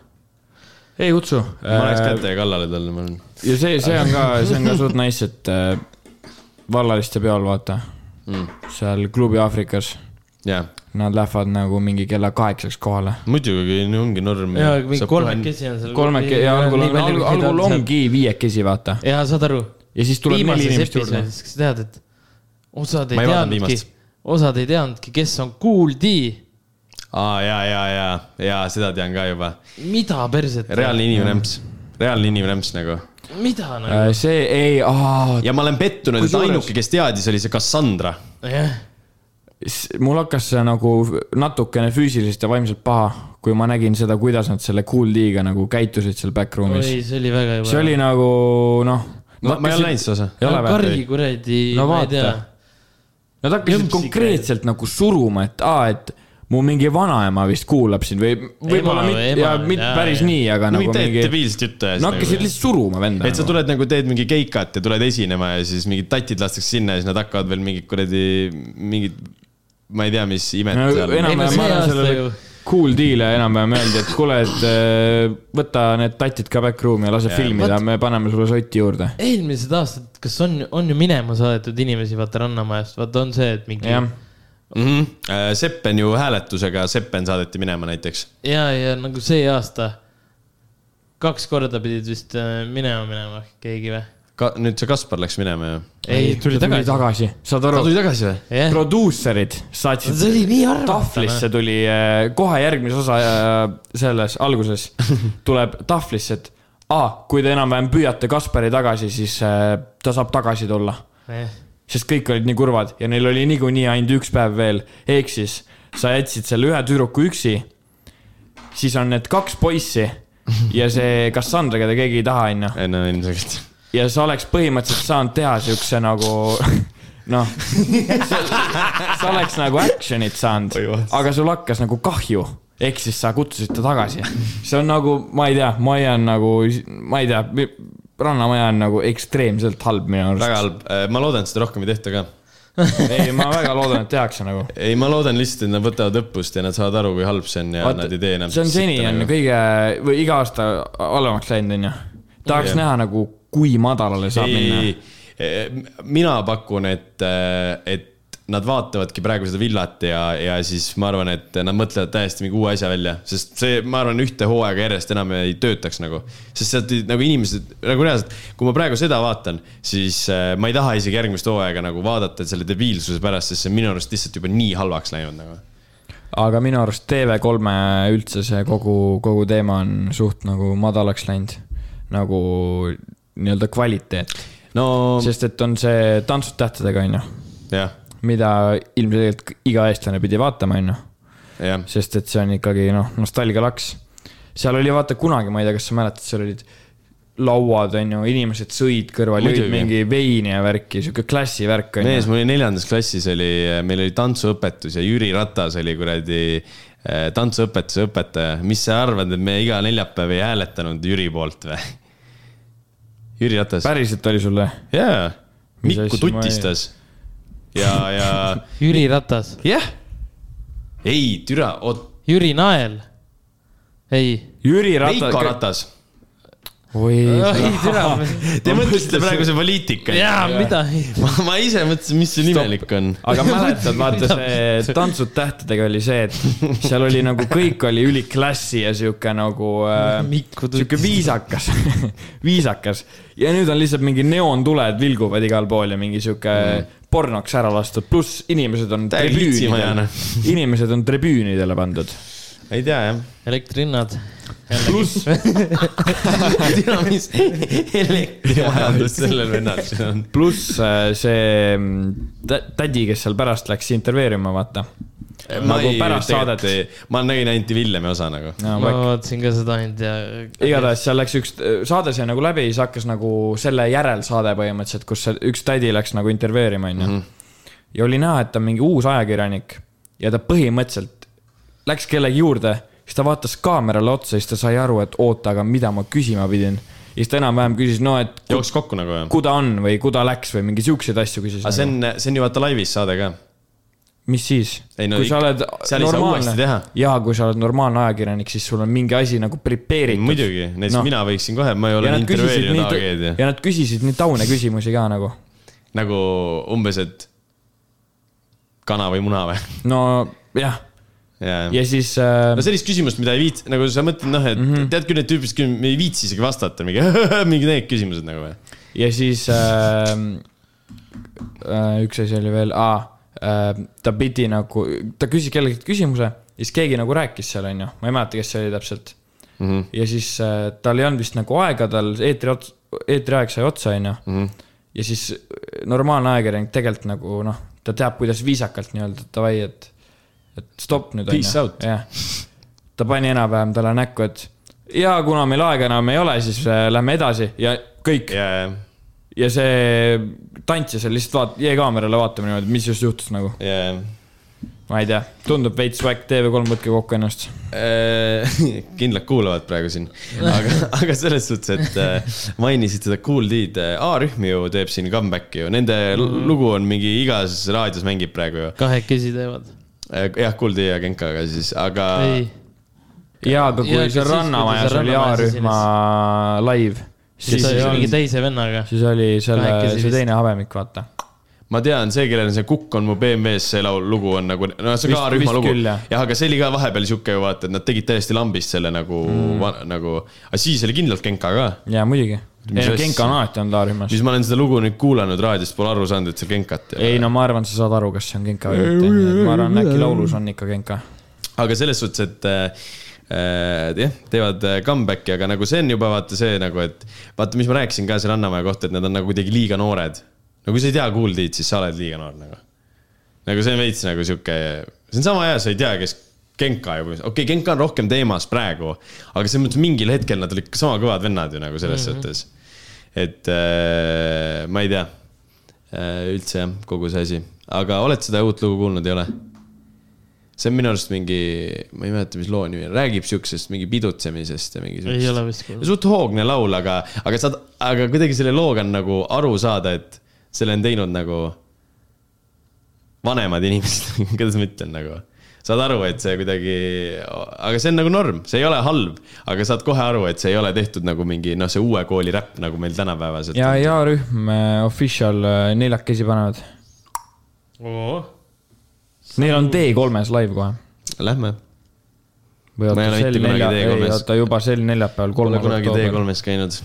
ei kutsu .
Äh.
ma läheks käte kallale talle , ma arvan .
ja see , see on ka , see on ka suht nice , et äh, vallaliste peol vaata mm. , seal klubi Aafrikas ,
jah ,
nad lähevad nagu mingi kella kaheksaks kohale .
muidugi no ongi norm .
ja mingi . kolmekesi on seal .
kolmeke- ja algul on , algul, algul . ongi viiekesi , vaata .
ja saad aru .
ja siis tuleb neli
viimases
inimest juurde .
episoodis , kas sa tead , et osad
Ma
ei
ei vaadanud
teadnudki
viimast. ,
osad ei teadnudki , kes on Kool D ,
aa , ja , ja , ja , ja seda tean ka juba .
mida perset ,
reaalne inimene ämps , reaalne inimene ämps nagu .
mida nagu ,
Äh, see ei ,
ja ma olen pettunud , et
Kusjuures-
ainuke , kes teadis , oli see Cassandra
jah .
mul hakkas see nagu natukene füüsiliselt ja vaimselt paha , kui ma nägin seda , kuidas nad selle Cool D-ga nagu käitusid seal backroom'is .
oi , see oli väga
see
juba .
oli nagu noh .
no, . ma ei ole näinud seda osa .
ei ole või ?
kargi kuradi ,
No
ma ei
vaata.
tea .
Nad hakkasid
Jõmpsik
konkreetselt nagu suruma , et aa , et mu mingi vanaema vist kuulab sind või võib-olla
või
mitte ,
ema
ja
või-
mitte
jaa,
päris
jaa.
nii , aga
no
nagu
mingi teed
mingi .
debiilset juttu ja nagu
no
nagu,
hakkasid lihtsalt suruma venda .
et sa tuled nagu teed mingi keikat ja tuled esinema ja siis mingid tatid lastakse sinna ja siis nad hakkavad veel mingit kuradi , mingit , ma ei tea , mis imet
No
seal .
enam-
ei no
ma
see
arvan,
aasta
sellele-
ju ,
Cool deal'e enam-vähem öeldi , et kuule , et äh, võta need tatid ka back room'i ja lase
Jaa.
filmida , me paneme sulle sotti juurde .
eelmised aastad , kas on , on ju minema saadetud inimesi , vaata Rannamajast , vaata on see , et mingi ja
jah ,,
mm
Mhm.
-hmm. Seppen ju hääletusega , Seppen saadeti minema näiteks .
ja, ja nagu see aasta kaks korda pidid vist äh, minema minema keegi või ?
Ka, nüüd see Kaspar läks minema ju .
ei , tuli tagasi .
tagasi , saad
ta
aru ,
tuli tagasi või ?
jah ,
produusserid saatsid .
Eh. see oli nii arvata .
tahvlisse tuli äh, kohe järgmise osa äh, selles alguses tuleb tahvlisse , et aa , kui te enam-vähem püüate Kaspari tagasi , siis äh, ta saab tagasi tulla . sest kõik olid nii kurvad ja neil oli niikuinii ainult üks päev veel , ehk siis sa jätsid selle ühe tüdruku üksi . siis on need kaks poissi ja see Cassandra , keda keegi ei taha , onju .
ei no ilmselgelt .
ja sa oleks põhimõtteliselt saanud teha siukse nagu noh , sa oleks nagu action'it saanud
Oi, vats. ,
aga sul hakkas nagu kahju , ehk siis sa kutsusid ta tagasi . see on nagu , ma ei tea , ma jään nagu , ma ei tea , rannamaja on nagu ekstreemselt halb minu
väga
arust .
halb , ma loodan , et seda rohkem ei tehta ka .
ei , ma väga loodan , et tehakse nagu .
ei , ma loodan lihtsalt , et nad võtavad õppust ja nad saavad aru , kui halb see on ja
Vaata,
Vaat, nad ei tee enam . nagu.
see on seni on . kõige või iga aasta halvemaks läinud , onju . tahaks
Jah.
näha nagu , kui madalale saab minna .
ei , mina pakun , et , et nad vaatavadki praegu seda villat ja , ja siis ma arvan , et nad mõtlevad täiesti mingi uue asja välja , sest see , ma arvan , ühte hooaega järjest enam ei töötaks nagu . sest sealt ei- nagu inimesed , nagu reaalselt , kui ma praegu seda vaatan , siis äh, ma ei taha isegi järgmist hooaega nagu vaadata selle debiilsuse pärast , sest see on minu arust lihtsalt juba nii halvaks läinud nagu .
aga minu arust TV3-e üldse see kogu , kogu teema on suht nagu madalaks läinud . nagu nii-öelda kvaliteet ,
no
sest et on see Tantsud tähtedega , onju ,
jah ,
mida ilmselgelt iga eestlane pidi vaatama , onju ,
jah ,
sest et see on ikkagi noh , nostalgialaks . seal oli vaata kunagi , ma ei tea , kas sa mäletad , seal olid lauad , onju , inimesed sõid kõrval , jõid
Muidugi.
mingi veini ja värki , sihuke klassivärk ,
mees ,
onju .
mul oli neljandas klassis oli , meil oli tantsuõpetus ja Jüri Ratas oli kuradi eh, tantsuõpetuse õpetaja . mis sa arvad , et me iga neljapäev ei hääletanud Jüri poolt või ? Jüri Ratas .
päriselt oli sul või ?
jaa ,
Mis
Mikku
asja ma ei-
tutistas . ja , ja
Jüri Ratas ,
jah . ei , türa , oot ,
Jüri Nael . ei ,
Jüri
Veiko
Ratas .
Ratas .
oi ,
ei türa ,
Te mõtlesite praegu see poliitika ?
jaa , mida ,
ma , ma ise mõtlesin , mis see nimelik on .
aga mäletad , vaata see Tantsud tähtedega oli see , et seal oli nagu kõik oli üliklassi ja sihuke nagu äh, ,
Mikku
sihuke
tuli .
viisakas , viisakas . ja nüüd on lihtsalt mingi neontuled vilguvad igal pool ja mingi sihuke
Mm.
pornoks ära lastud , pluss inimesed on
Täielik
tribüünidele
vitsimajane. ,
inimesed on tribüünidele pandud .
ei tea jah .
elektrihinnad .
pluss ,
tea , mis elektrimajandus sellel vennal siin on .
pluss äh, see mm, tä- tädi , kes seal pärast läks intervjueerima , vaata . nagu pärast saadet .
ma nägin ainult Villemi osa nagu .
ma vaatasin ka seda ainult ja .
igatahes seal läks üks , saade sai nagu läbi , siis hakkas nagu selle järel saade põhimõtteliselt , kus see üks tädi läks nagu intervjueerima , onju .
Mhm.
ja oli näha , et ta on mingi uus ajakirjanik ja ta põhimõtteliselt läks kellegi juurde , siis ta vaatas kaamerale otsa , siis ta sai aru , et oota , aga mida ma küsima pidin . ja siis ta enam-vähem küsis , no et ku-
jooksis kokku nagu jah ?
kuhu ta on või kuhu ta läks või mingi siukseid asju küsis nagu."
aga see . on , see on ju vaata laivis saade ka .
mis siis ?
Ei no
kui sa
ikka-
oled
seal ei saa uuesti
normaalne
teha. ,
jaa , kui sa oled normaalne ajakirjanik , siis sul on mingi asi nagu prepareeritud .
muidugi , näiteks
Noh.
no. mina võiksin kohe , ma ei ole
ja nad küsisid
intervjueerinud AG-d
nii
ja ,
ja nad küsisid nii taune küsimusi ka nagu .
nagu umbes , et kana või muna või ?
no jah , ja siis äh,
no sellist küsimust , mida ei viitsi , nagu sa mõtled , noh , et mm
Mhm.
-hmm. tead küll , need tüübid , kes ei viitsi isegi vastata , mingi , mingi need küsimused nagu või ?
ja siis äh, äh, üks asi oli veel , äh, ta pidi nagu , ta küsis kellelgi küsimuse ja siis keegi nagu rääkis seal , onju , ma ei mäleta , kes see oli täpselt mm .
Mhm.
-hmm. ja siis äh, tal ei olnud vist nagu aega , tal eetri ots- , eetriaeg sai otsa , onju .
Mhm.
ja siis äh, normaalne ajakirjanik tegelikult nagu noh , ta teab , kuidas viisakalt nii-öelda davai , et , et stopp nüüd .
Peace out.
jah , ta pani enam-vähem talle näkku , et ja kuna meil aega enam ei ole , siis äh, lähme edasi ja kõik
ja , ja ,
ja see tantsija seal lihtsalt vaat- , jäi kaamerale vaatama niimoodi , et mis just juhtus nagu ,
ja , ja .
ma ei tea , tundub veits swag TV3 , võtke kokku ennast .
kindlalt Äh, kuulavad praegu siin , aga , aga selles suhtes , et äh, mainisid seda Cool D-d , A-rühm ju teeb siin comeback'i ju , nende
Mm.
l- lugu on mingi igas raadios mängib praegu ju .
kahekesi teevad .
jah , Cool D ja Genkaga siis , aga
ei ,
jaa , aga kui
Jaa, aga
seal
siis, kui ta
Rannamajas
seal
oli
Rannamajas
A-rühma live ,
siis
siis ei
ta oli mingi
olnud ,
teise vennaga .
siis oli selle
Kahekesi ,
see
vist.
teine habemik , vaata .
ma tean , see , kellel on see Kukk on mu BMW-s , see laul , lugu on nagu , no see on
Vist-
ka rühma
vist
lugu .
küll, jah.
jah , aga see oli ka vahepeal sihuke ju vaata , et nad tegid täiesti lambist selle nagu mm. , nagu , aga siis oli kindlalt Genka ka .
jaa , muidugi . ei
Mis
no
asja?
Genka on alati olnud A-rühmas .
siis ma olen seda lugu nüüd kuulanud raadiost , pole aru saanud , et seal Genkat ei
ei no ma arvan , sa saad aru , kas see on Genka või mitte , ma arvan , äkki laulus on ikka Genka .
ole . aga selles suhtes , et äh, äh, jah , teevad äh, comeback'i , aga nagu see on juba vaata see nagu , et vaata , mis ma rääkisin ka selle Annamaja kohta , et nad on nagu kuidagi liiga noored . no kui sa ei tea Kool Tiit , siis sa oled liiga noor nagu . nagu see on veits nagu sihuke , see on sama hea , sa ei tea , kes Genka juba , okei okay, , Genka on rohkem teemas praegu , aga selles mõttes mingil hetkel nad olid ikka sama kõvad vennad ju nagu
Mhm.
selles mm -hmm. suhtes . et äh, ma ei tea äh, üldse jah , kogu see asi , aga oled seda uut lugu kuulnud , ei ole ? see on minu arust mingi , ma ei mäleta , mis loo nimi on , räägib siuksest mingi pidutsemisest ja mingi .
ei ole vist kuulnud .
suht hoogne laul , aga , aga saad , aga kuidagi selle looga on nagu aru saada , et selle on teinud nagu vanemad inimesed , kuidas ma ütlen nagu . saad aru , et see kuidagi , aga see on nagu norm , see ei ole halb , aga saad kohe aru , et see ei ole tehtud nagu mingi noh , see uue kooli räpp nagu meil tänapäevaselt .
ja , ja A-rühm äh, official äh, neljakesi panevad . Neil on D3-s live kohe .
Lähme
või
Ma ei
oota
ole , mitte
sel
kunagi
nelja , ei
T3-s.
oota juba sel neljapäeval ,
Pole
kolmas
kunagi
oktoober .
T3-s käinud .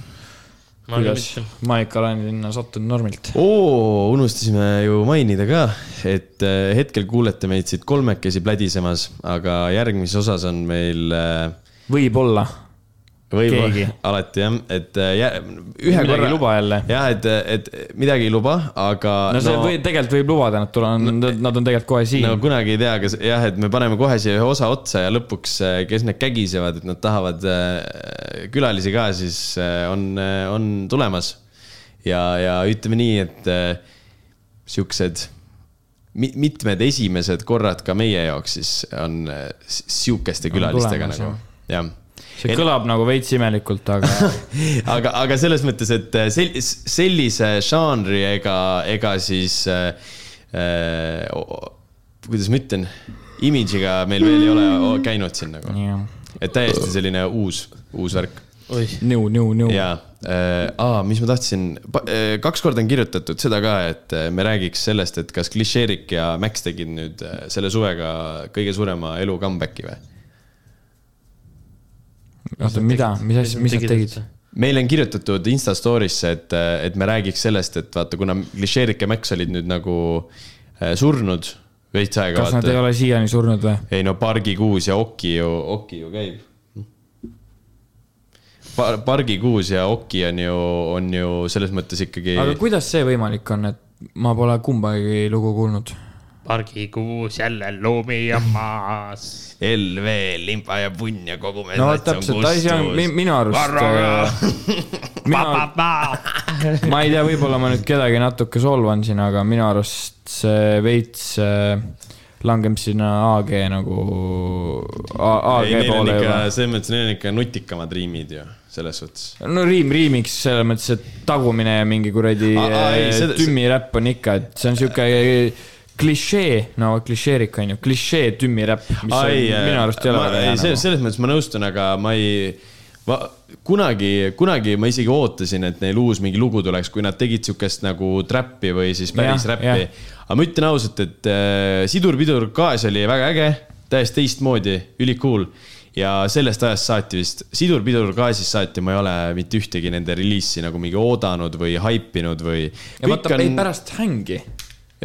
ma ka
kuidas
mitte .
ma ikka olen sinna sattunud normilt .
oo , unustasime ju mainida ka , et äh, hetkel kuulete meid siit kolmekesi plädisemas , aga järgmises osas on meil äh,
võib-olla . Keegi.
võib-olla alati jah , et äh, jä- ühe
Midagi
korra
ei luba jälle.
jah , et , et midagi ei luba , aga
no see või , tegelikult võib lubada , nad tulevad , nad on tegelikult kohe
no
siin .
nagu kunagi ei tea , kas jah , et me paneme kohe siia ühe osa otsa ja lõpuks , kes need kägisevad , et nad tahavad äh, külalisi ka , siis äh, on , on tulemas . ja , ja ütleme nii , et äh, siuksed mi- mitmed esimesed korrad ka meie jaoks siis on äh, s- siukeste külalistega
tulemas,
nagu , jah
see kõlab nagu veits imelikult , aga
aga , aga selles mõttes , et äh, sel- , sellise žanri ega , ega siis äh, . Äh, kuidas ma ütlen , imidžiga meil veel ei ole o- käinud siin nagu ,
jah .
et täiesti selline uus , uus värk
oih ,
New , new , new .
ja äh, , aa , mis ma tahtsin , kaks korda on kirjutatud seda ka , et äh, me räägiks sellest , et kas Klišeerik ja Max tegid nüüd äh, selle suvega kõige suurema elu comeback'i või ?
oota , mida , mis asja , mis nad tegid ??
meil on kirjutatud Insta story'sse , et , et me räägiks sellest , et vaata , kuna Klišeerik ja Max olid nüüd nagu äh, surnud või veits aega
kas nad ei
vaata .
ole siiani surnud või ?
ei no pargikuus ja Oki ju , Oki ju käib . Par- , pargikuus ja Oki on ju , on ju selles mõttes ikkagi
aga kuidas see võimalik on , et ma pole kumbagi lugu kuulnud ?
pargikuus jälle loomi ja maas .
LV , limpa ja punn ja kogu meie
no vot, täpselt , asi on mi- minu arust . äh, Mina, ma ei tea , võib-olla ma nüüd kedagi natuke solvan siin , aga minu arust see veits äh, langeb sinna AG nagu , AG
ei , neil on
poole
ikka
juba .,
selles mõttes neil on ikka nutikamad riimid ju , selles suhtes .
no riim riimiks selles mõttes , et tagumine ja mingi kuradi
Aa, aa, ei,
äh,
seda-
tümmi räpp on ikka , et see on sihuke klišee , no klišeerik on ju , klišee tümmi räpp , mis on,
Ai, äh,
minu arust ei ole
ma-
väga hea
see-
nagu .
selles mõttes ma nõustun , aga ma ei , ma kunagi , kunagi ma isegi ootasin , et neil uus mingi lugu tuleks , kui nad tegid siukest nagu trappi või siis päris
Jah,
räppi
jah. .
aga ma ütlen ausalt , et äh, sidurpidur kaas oli väga äge , täiesti teistmoodi , ülikool ja sellest ajast saati vist , sidurpidur kaasist saati ma ei ole mitte ühtegi nende reliisi nagu mingi oodanud või haipinud või .
ja vaata , ei pärast hängi ,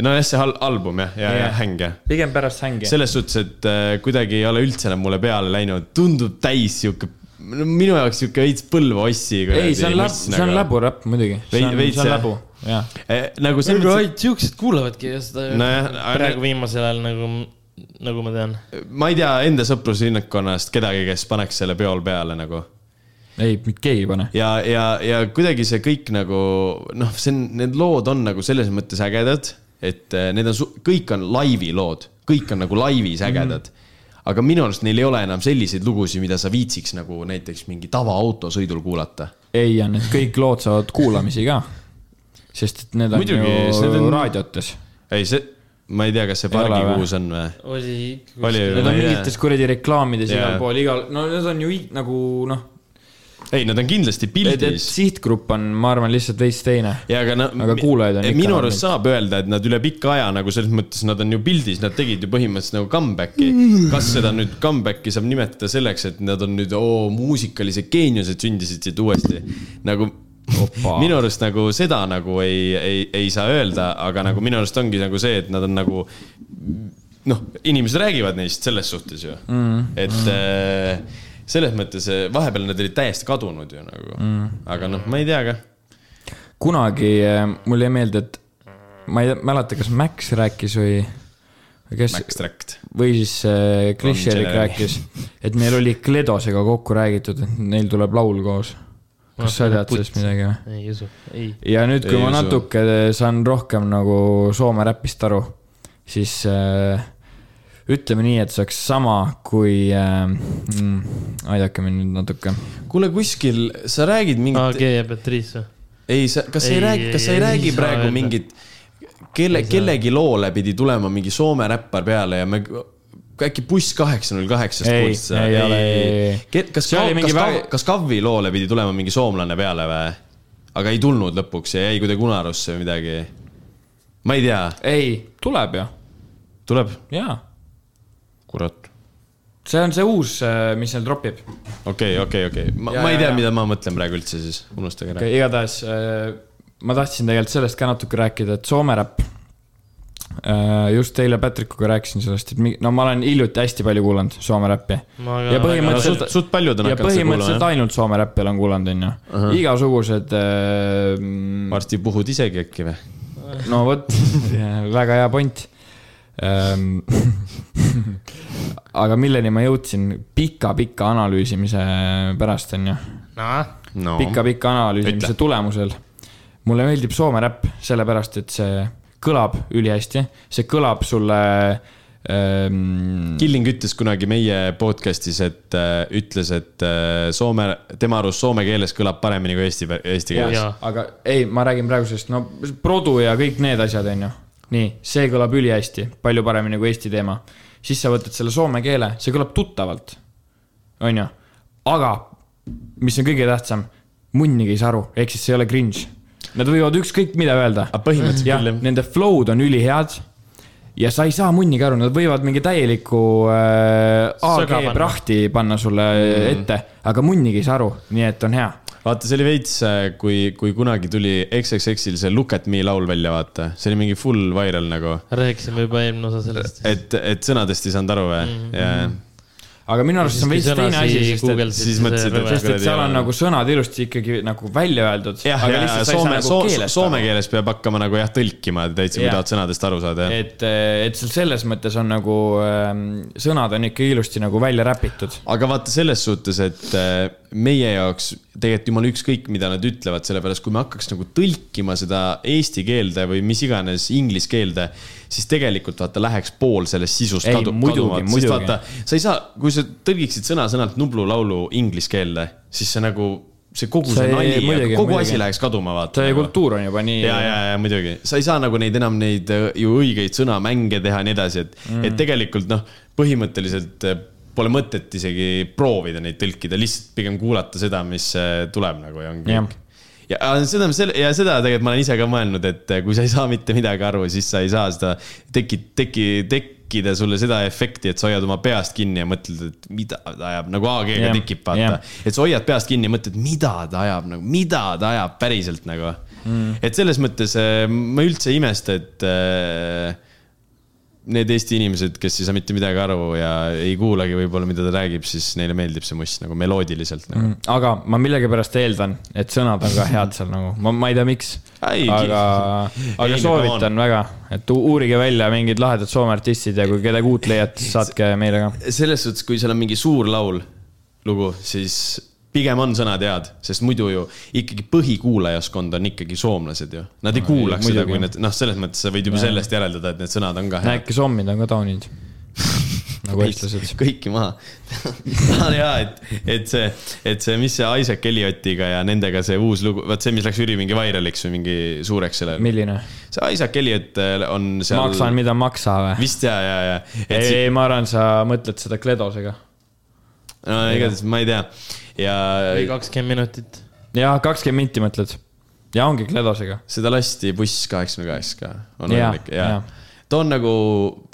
nojah , see al- album jah , ja , ja
Jah.
häng jah
pigem pärast hängi .
selles suhtes , et äh, kuidagi ei ole üldse enam mulle peale läinud , tundub täis sihuke , minu jaoks sihuke veits põlveossi .
ei , see on läb- , see
nagu.
on . läburäpp muidugi . see
Veid-
on ,
veits,
see on
jah.
läbu , jah .
nagu selles
aga
mõttes ,
ainult siuksed kuulavadki ja seda
Nojah, aga-
praegu viimasel ajal nagu , nagu ma tean .
et ma ei tea enda sõpruslinnakonnast kedagi , kes paneks selle peol peale nagu .
ei , mitte keegi ei pane .
ja , ja , ja kuidagi see kõik nagu noh , see on , need lood on nagu selles mõttes ägedad , et äh, need on , kõik on laivi lood , kõik on nagu
Mhm.
laivis ägedad mm . -hmm. aga minu arust neil ei ole enam selliseid lugusid , mida sa viitsiks nagu näiteks mingi tavaautosõidul kuulata
ei , ja need kõik lood saavad kuulamisi ka . sest et need on
Muidugi, sest
ju
need
on...
on-
raadiotes .
ei , see , ma ei tea , kas see
Ei ole
pargikuus on või ?
oli ikka
Oli ju.
Need
Ma
on
ei tea.
mingites kuradi reklaamides yeah.
Jaa.
igal pool , igal , no need on ju i- nagu noh ,
ei , nad on kindlasti
et , et
pildis .
sihtgrupp on , ma arvan , lihtsalt veits teine .
ja aga no eh,
aga kuulajaid on ikka
minu
olnud.
arust saab öelda , et nad üle pika aja nagu selles mõttes , nad on ju pildis , nad tegid ju põhimõtteliselt nagu comeback'i . kas seda nüüd comeback'i saab nimetada selleks , et nad on nüüd oo muusikalised geeniused sündisid siit uuesti nagu
Opa.
minu arust nagu seda nagu ei , ei , ei saa öelda , aga nagu minu arust ongi nagu see , et nad on nagu noh , inimesed räägivad neist selles suhtes ju mm. , et mm. selles mõttes eh, vahepeal nad olid täiesti kadunud ju nagu mm. , aga noh , ma ei tea ka .
kunagi äh, mul jäi meelde , et ma ei mäleta , kas Max rääkis või , või kes ,
Max Tract .
või siis äh, Klišerik
Generali.
rääkis , et neil oli Kledosega kokku räägitud , et neil tuleb laul koos . kas sa tead sellest midagi või ?
ei usu , ei .
ja nüüd , kui
Ei
ma
usu.
natuke saan rohkem nagu Soome räpist aru , siis äh, ütleme nii , et see oleks sama kui äh, , aidake mind nüüd natuke .
kuule , kuskil sa räägid
AG
mingit ,
ja Patrice või ?
ei sa , kas sa ei
Ei,
räägi , kas sa
ei,
ei
ei
räägi
saa
praegu
öelda.
mingit , kelle , kellegi loole pidi tulema mingi Soome räppar peale ja me äkki buss kaheksa null kaheksast
Ei,
kuulsid seda ?
ei ole, ei, ei.
kas ,
See oli mingi
kas
väga- ,
kas Kavvi loole pidi tulema mingi soomlane peale või ? aga ei tulnud lõpuks ja jäi kuidagi unarusse või midagi . ma ei tea ,
ei , tuleb ju ,
tuleb ?
jaa .
kurat .
see on see uus , mis neil tropib .
okei , okei , okei , ma ,
Ja,
ma ei
ja,
tea
ja. ,
mida ma mõtlen praegu üldse siis , unustage ära .
igatahes äh, ma tahtsin tegelikult sellest ka natuke rääkida , et Soome räpp . just eile Patrickuga rääkisin sellest , et mi- no ma olen hiljuti hästi palju kuulanud Soome räppi
ma
Ja
No,
põhimõtteliselt-
suht , suht paljud on
ja
hakanud seda kuulama
põhimõtteliselt
jah?
ainult soome räppi olen kuulanud , onju . igasugused äh, ,
varsti puhud isegi äkki või ?
no vot , väga hea point ähm, . aga milleni ma jõudsin pika-pika analüüsimise pärast , onju .
noh ,
no. .
pika-pika analüüsimise
Ütle.
tulemusel . mulle meeldib soome räpp sellepärast , et see kõlab ülihästi , see kõlab sulle ähm, .
Killing ütles kunagi meie podcast'is , et äh, ütles , et äh, soome , tema arust soome keeles kõlab paremini kui eesti , eesti
Jaa,
keeles .
Jaa.
aga ei , ma räägin praegu sellest , no produ ja kõik need asjad , onju . nii , see kõlab ülihästi , palju paremini kui Eesti teema . siis sa võtad selle soome keele , see kõlab tuttavalt . onju , aga mis on kõige tähtsam , munnigi ei saa aru , ehk siis see ei ole cringe . Nad võivad ükskõik mida öelda .
Aga Ah, põhimõtteliselt
jah
küll, jah. ,
nende flow'd on ülihead ja sa ei saa munnigi aru , nad võivad mingi täieliku äh, AG
Sõga panna.
prahti panna sulle mm. ette , aga munnigi ei saa aru , nii et on hea .
vaata , see oli veits , kui , kui kunagi tuli XXX-il see Look at me laul välja , vaata , see oli mingi full viral nagu ,
rääkisime juba eelmine osa sellest .
et , et sõnadest ei saanud aru või mm -hmm. ja
aga minu arust see on veits teine asi , sest et ,
siis mõtlesid, et-
sest et seal on nagu sõnad ilusti ikkagi nagu välja öeldud .
jah , ja, ja soome , soome , soome keeles peab hakkama nagu jah , tõlkima täitsa , kui
nagu Jah.
tahad sõnadest aru saada , jah .
et , et seal selles mõttes on nagu ähm, sõnad on ikka ilusti nagu välja räpitud .
aga vaata selles suhtes , et äh, meie jaoks tegelikult jumala ükskõik , mida nad ütlevad , sellepärast kui me hakkaks nagu tõlkima seda eesti keelde või mis iganes inglise keelde , siis tegelikult vaata läheks pool sellest sisust
Ei,
kadu-
muidugi,
kaduma , sest
muidugi.
vaata , sa ei saa , kui sa tõlgiksid sõna-sõnalt Nublu laulu inglise keelde , siis see nagu , see kogu
Sa
see
ei-
nali ,
muidugi,
kogu
muidugi.
asi läheks kaduma , vaata nagu.
see . kultuur on juba nii .
ja , ja , ja muidugi , sa ei saa nagu neid enam neid äh, ju õigeid sõnamänge teha ja nii edasi , et mm. , et tegelikult noh , põhimõtteliselt äh, pole mõtet isegi proovida neid tõlkida , lihtsalt pigem kuulata seda , mis äh, tuleb nagu ja on
Jah.
kõik . ja aga seda , ja seda tegelikult ma olen ise ka mõelnud , et äh, kui sa ei saa mitte midagi aru , siis sa ei saa seda teki , teki , tekkida sulle seda efekti , et sa hoiad oma peast kinni ja mõtled , et mida ta ajab , nagu AG-ga
Jah,
tekib , vaata
jah.
et sa hoiad peast kinni ja mõtled , mida ta ajab nagu , mida ta ajab päriselt nagu mm. . et selles mõttes äh, ma üldse ei imesta , et äh, need Eesti inimesed , kes ei saa mitte midagi aru ja ei kuulagi võib-olla , mida ta räägib , siis neile meeldib see must nagu meloodiliselt nagu. .
aga ma millegipärast eeldan , et sõnad on ka head seal nagu , ma , ma ei tea , miks .
Ei,
aga ,
ei, nagu
aga soovitan väga , et u- uurige välja mingid lahedad Soome artistid ja kui kedagi uut leiate , siis saatke meile ka .
selles suhtes , kui seal on mingi suur laul , lugu , siis pigem on sõnad head , sest muidu ju ikkagi põhikuulajaskond on ikkagi soomlased ju . Nad ei kuulaks seda ,
muidugi.
kui need , noh , selles mõttes sa võid juba sellest järeldada , et need sõnad on ka head .
äkki sommid on ka taunid nagu eestlased .
kõiki maha . ja , et , et see , et see , mis see Isaac Elliotiga ja nendega see uus lugu , vaat see , mis läks ülimingi vairaliks või mingi suureks sellel .
milline ?
see Isaac Elliot äh, on seal .
maksan , mida maksa või ?
vist ja , ja , ja .
ei ,
et see ,
ei , ma arvan , sa mõtled seda Kledosega .
no igatahes ma ei tea ja
oli kakskümmend minutit .
jah , kakskümmend minti mõtled . ja ongi Kledosega .
seda lasti buss kaheksakümne kaheksa ka , on
Jaa,
võimalik ja,
jaa.
ja. . ta on nagu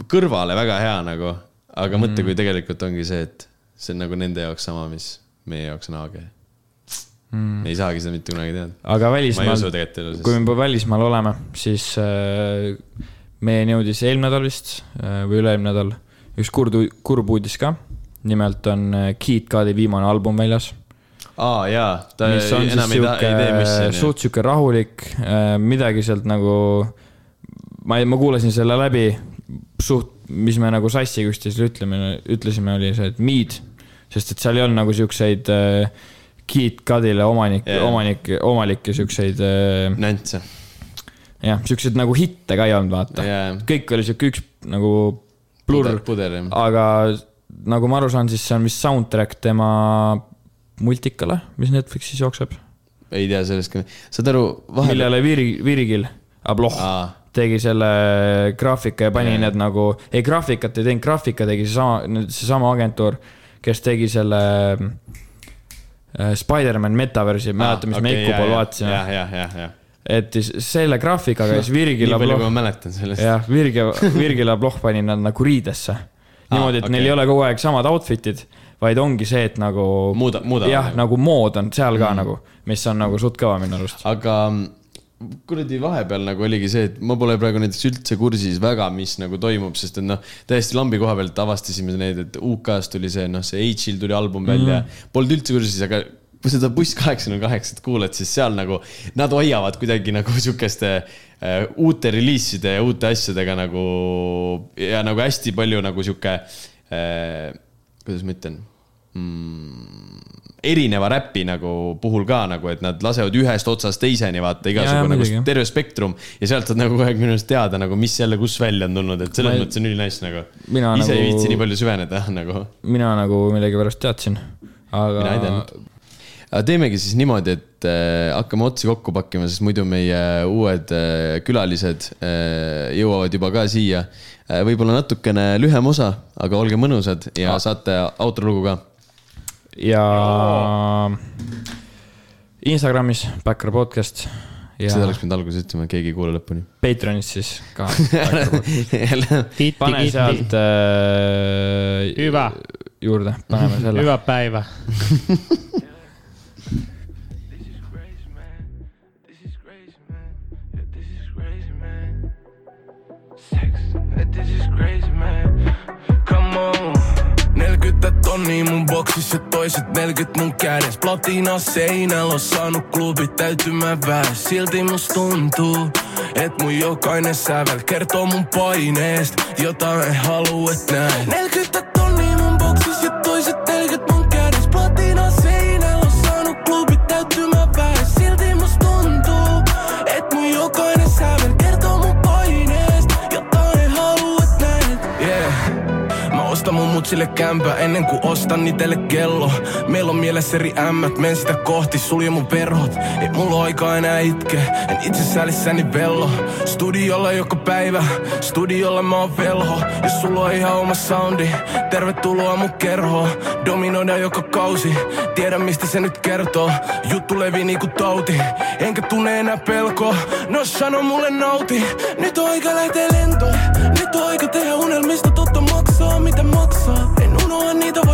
kõrvale väga hea nagu , aga mõtle mm. , kui tegelikult ongi see , et see on nagu nende jaoks sama , mis meie jaoks on AG mm. . me ei saagi seda mitte kunagi teada .
aga
ma ei
välismaal
usu , tegelikult elu
kui me juba välismaal oleme , siis äh, meieni jõudis eelmine nädal vist äh, või üle-eelmine nädal üks kurb , kurb uudis ka . nimelt on äh, Kid Cudi viimane album väljas .
aa jaa , ta
mis on
enam
siis
ei, ta, ei tee
sihuke ,
missi .
suht sihuke rahulik , midagi sealt nagu , ma ei , ma kuulasin selle läbi suht , mis me nagu sassi üksteisele ütleme , ütlesime , oli see , et mid , sest et seal ei olnud nagu siukseid äh, Kid Cudile omanik
Jaa.
yeah. , omanik , omanikke siukseid äh,
näntse .
jah , siukseid nagu hitte ka ei olnud , vaata .
jaa ,
kõik oli siuke üks nagu plurr ,
puder jah .
aga nagu ma aru saan , siis see on vist soundtrack tema multikale , mis Netflixis jookseb ,
ei tea sellest ka , saad aru , vahepeal .
millele Oh. Viri , Virgil Abloh
aa ,
tegi selle graafika ja pani
Jaa.
need nagu , ei graafikat ei teinud , graafika tegi seesama , seesama agentuur , kes tegi selle äh, Spider-man metaversi , mäleta , mis me Eiku pool vaatasime ,
jah , jah , jah , jah .
et siis selle graafikaga ja siis Virgil
nii palju ,
Abloh
kui ma mäletan sellest .
jah , Virgil , Virgil Abloh pani nad nagu riidesse . niimoodi , et
okei.
okay. neil ei ole kogu aeg samad outfit'id , vaid ongi see , et nagu
Muuda- muudavad
jah ,
nagu.
nagu mood on seal ka mm. nagu , mis on nagu suht kõva minu arust .
aga mm, kuradi vahepeal nagu oligi see , et ma pole praegu näiteks üldse kursis väga , mis nagu toimub , sest et noh , täiesti lambi koha pealt avastasime need , et UK-s tuli see , noh , see H-il tuli album välja mm. , polnud üldse kursis , aga kui seda Buss kaheksakümmend kaheksat kuulad , siis seal nagu nad hoiavad kuidagi nagu sihukeste äh, uute reliiside ja uute asjadega nagu ja nagu hästi palju nagu sihuke äh, , kuidas ma ütlen mm, , erineva räpi nagu puhul ka nagu , et nad lasevad ühest otsast teiseni
Jaa,
vaata
jaa,
igasugune nagu
muidugi.
terve spektrum ja sealt saad nagu kogu aeg minu arust teada nagu , mis jälle kus välja on tulnud , et selles
Ma
ei...
ei-
mõttes on ülinais nagu . ise
Mina
nagu... ei
nagu-
viitsi nii palju süveneda nagu .
mina nagu millegipärast teadsin ,
Mina ei
aga
teadnud. aga teemegi siis niimoodi , et äh, hakkame otsi kokku pakkima , sest muidu meie uued äh, külalised äh, jõuavad juba ka siia äh, . võib-olla natukene lühem osa , aga olge mõnusad
Ah.
ja saate outro lugu ka .
ja Instagramis Backer podcast ja
seda oleks pidanud alguses ütlema , keegi ei kuule lõpuni .
Patreonis siis ka . pane
kiitti-kiitti ,
sealt äh,
hüva ,
juurde , paneme selle .
hüva päeva .
tonni mun boksissa, toiset 40 mun kädessä. Platina seinällä on saanut klubit täytymään väes. Silti must tuntuu, et mun jokainen sävel kertoo mun paineest, jota en halua et näe. 40 tonni mun boksissa ja toiset 40 mun kädessä. Platina seinällä on saanut klubit täytymään väes. Silti must tuntuu, et mun jokainen sävel kertoo mun paineest, jota en halua et näe. Yeah. Mä ostan mun mutsille kämpä ennen kuin ostan itelle kello. Meillä on mielessä eri ämmät, men sitä kohti, sulje mun verhot. Ei mulla oo aikaa enää itke, en itse sälissäni vello. Studiolla joka päivä, studiolla mä oon velho. Jos sulla on ihan oma soundi, tervetuloa mun kerhoon. Dominoida joka kausi, tiedä mistä se nyt kertoo. Juttu levii niinku tauti, enkä tunne enää pelkoa. No sano mulle nauti, nyt on aika lähtee lentoon. Nyt on aika tehdä unelmista totta maksaa, mitä maksaa. En unoha niitä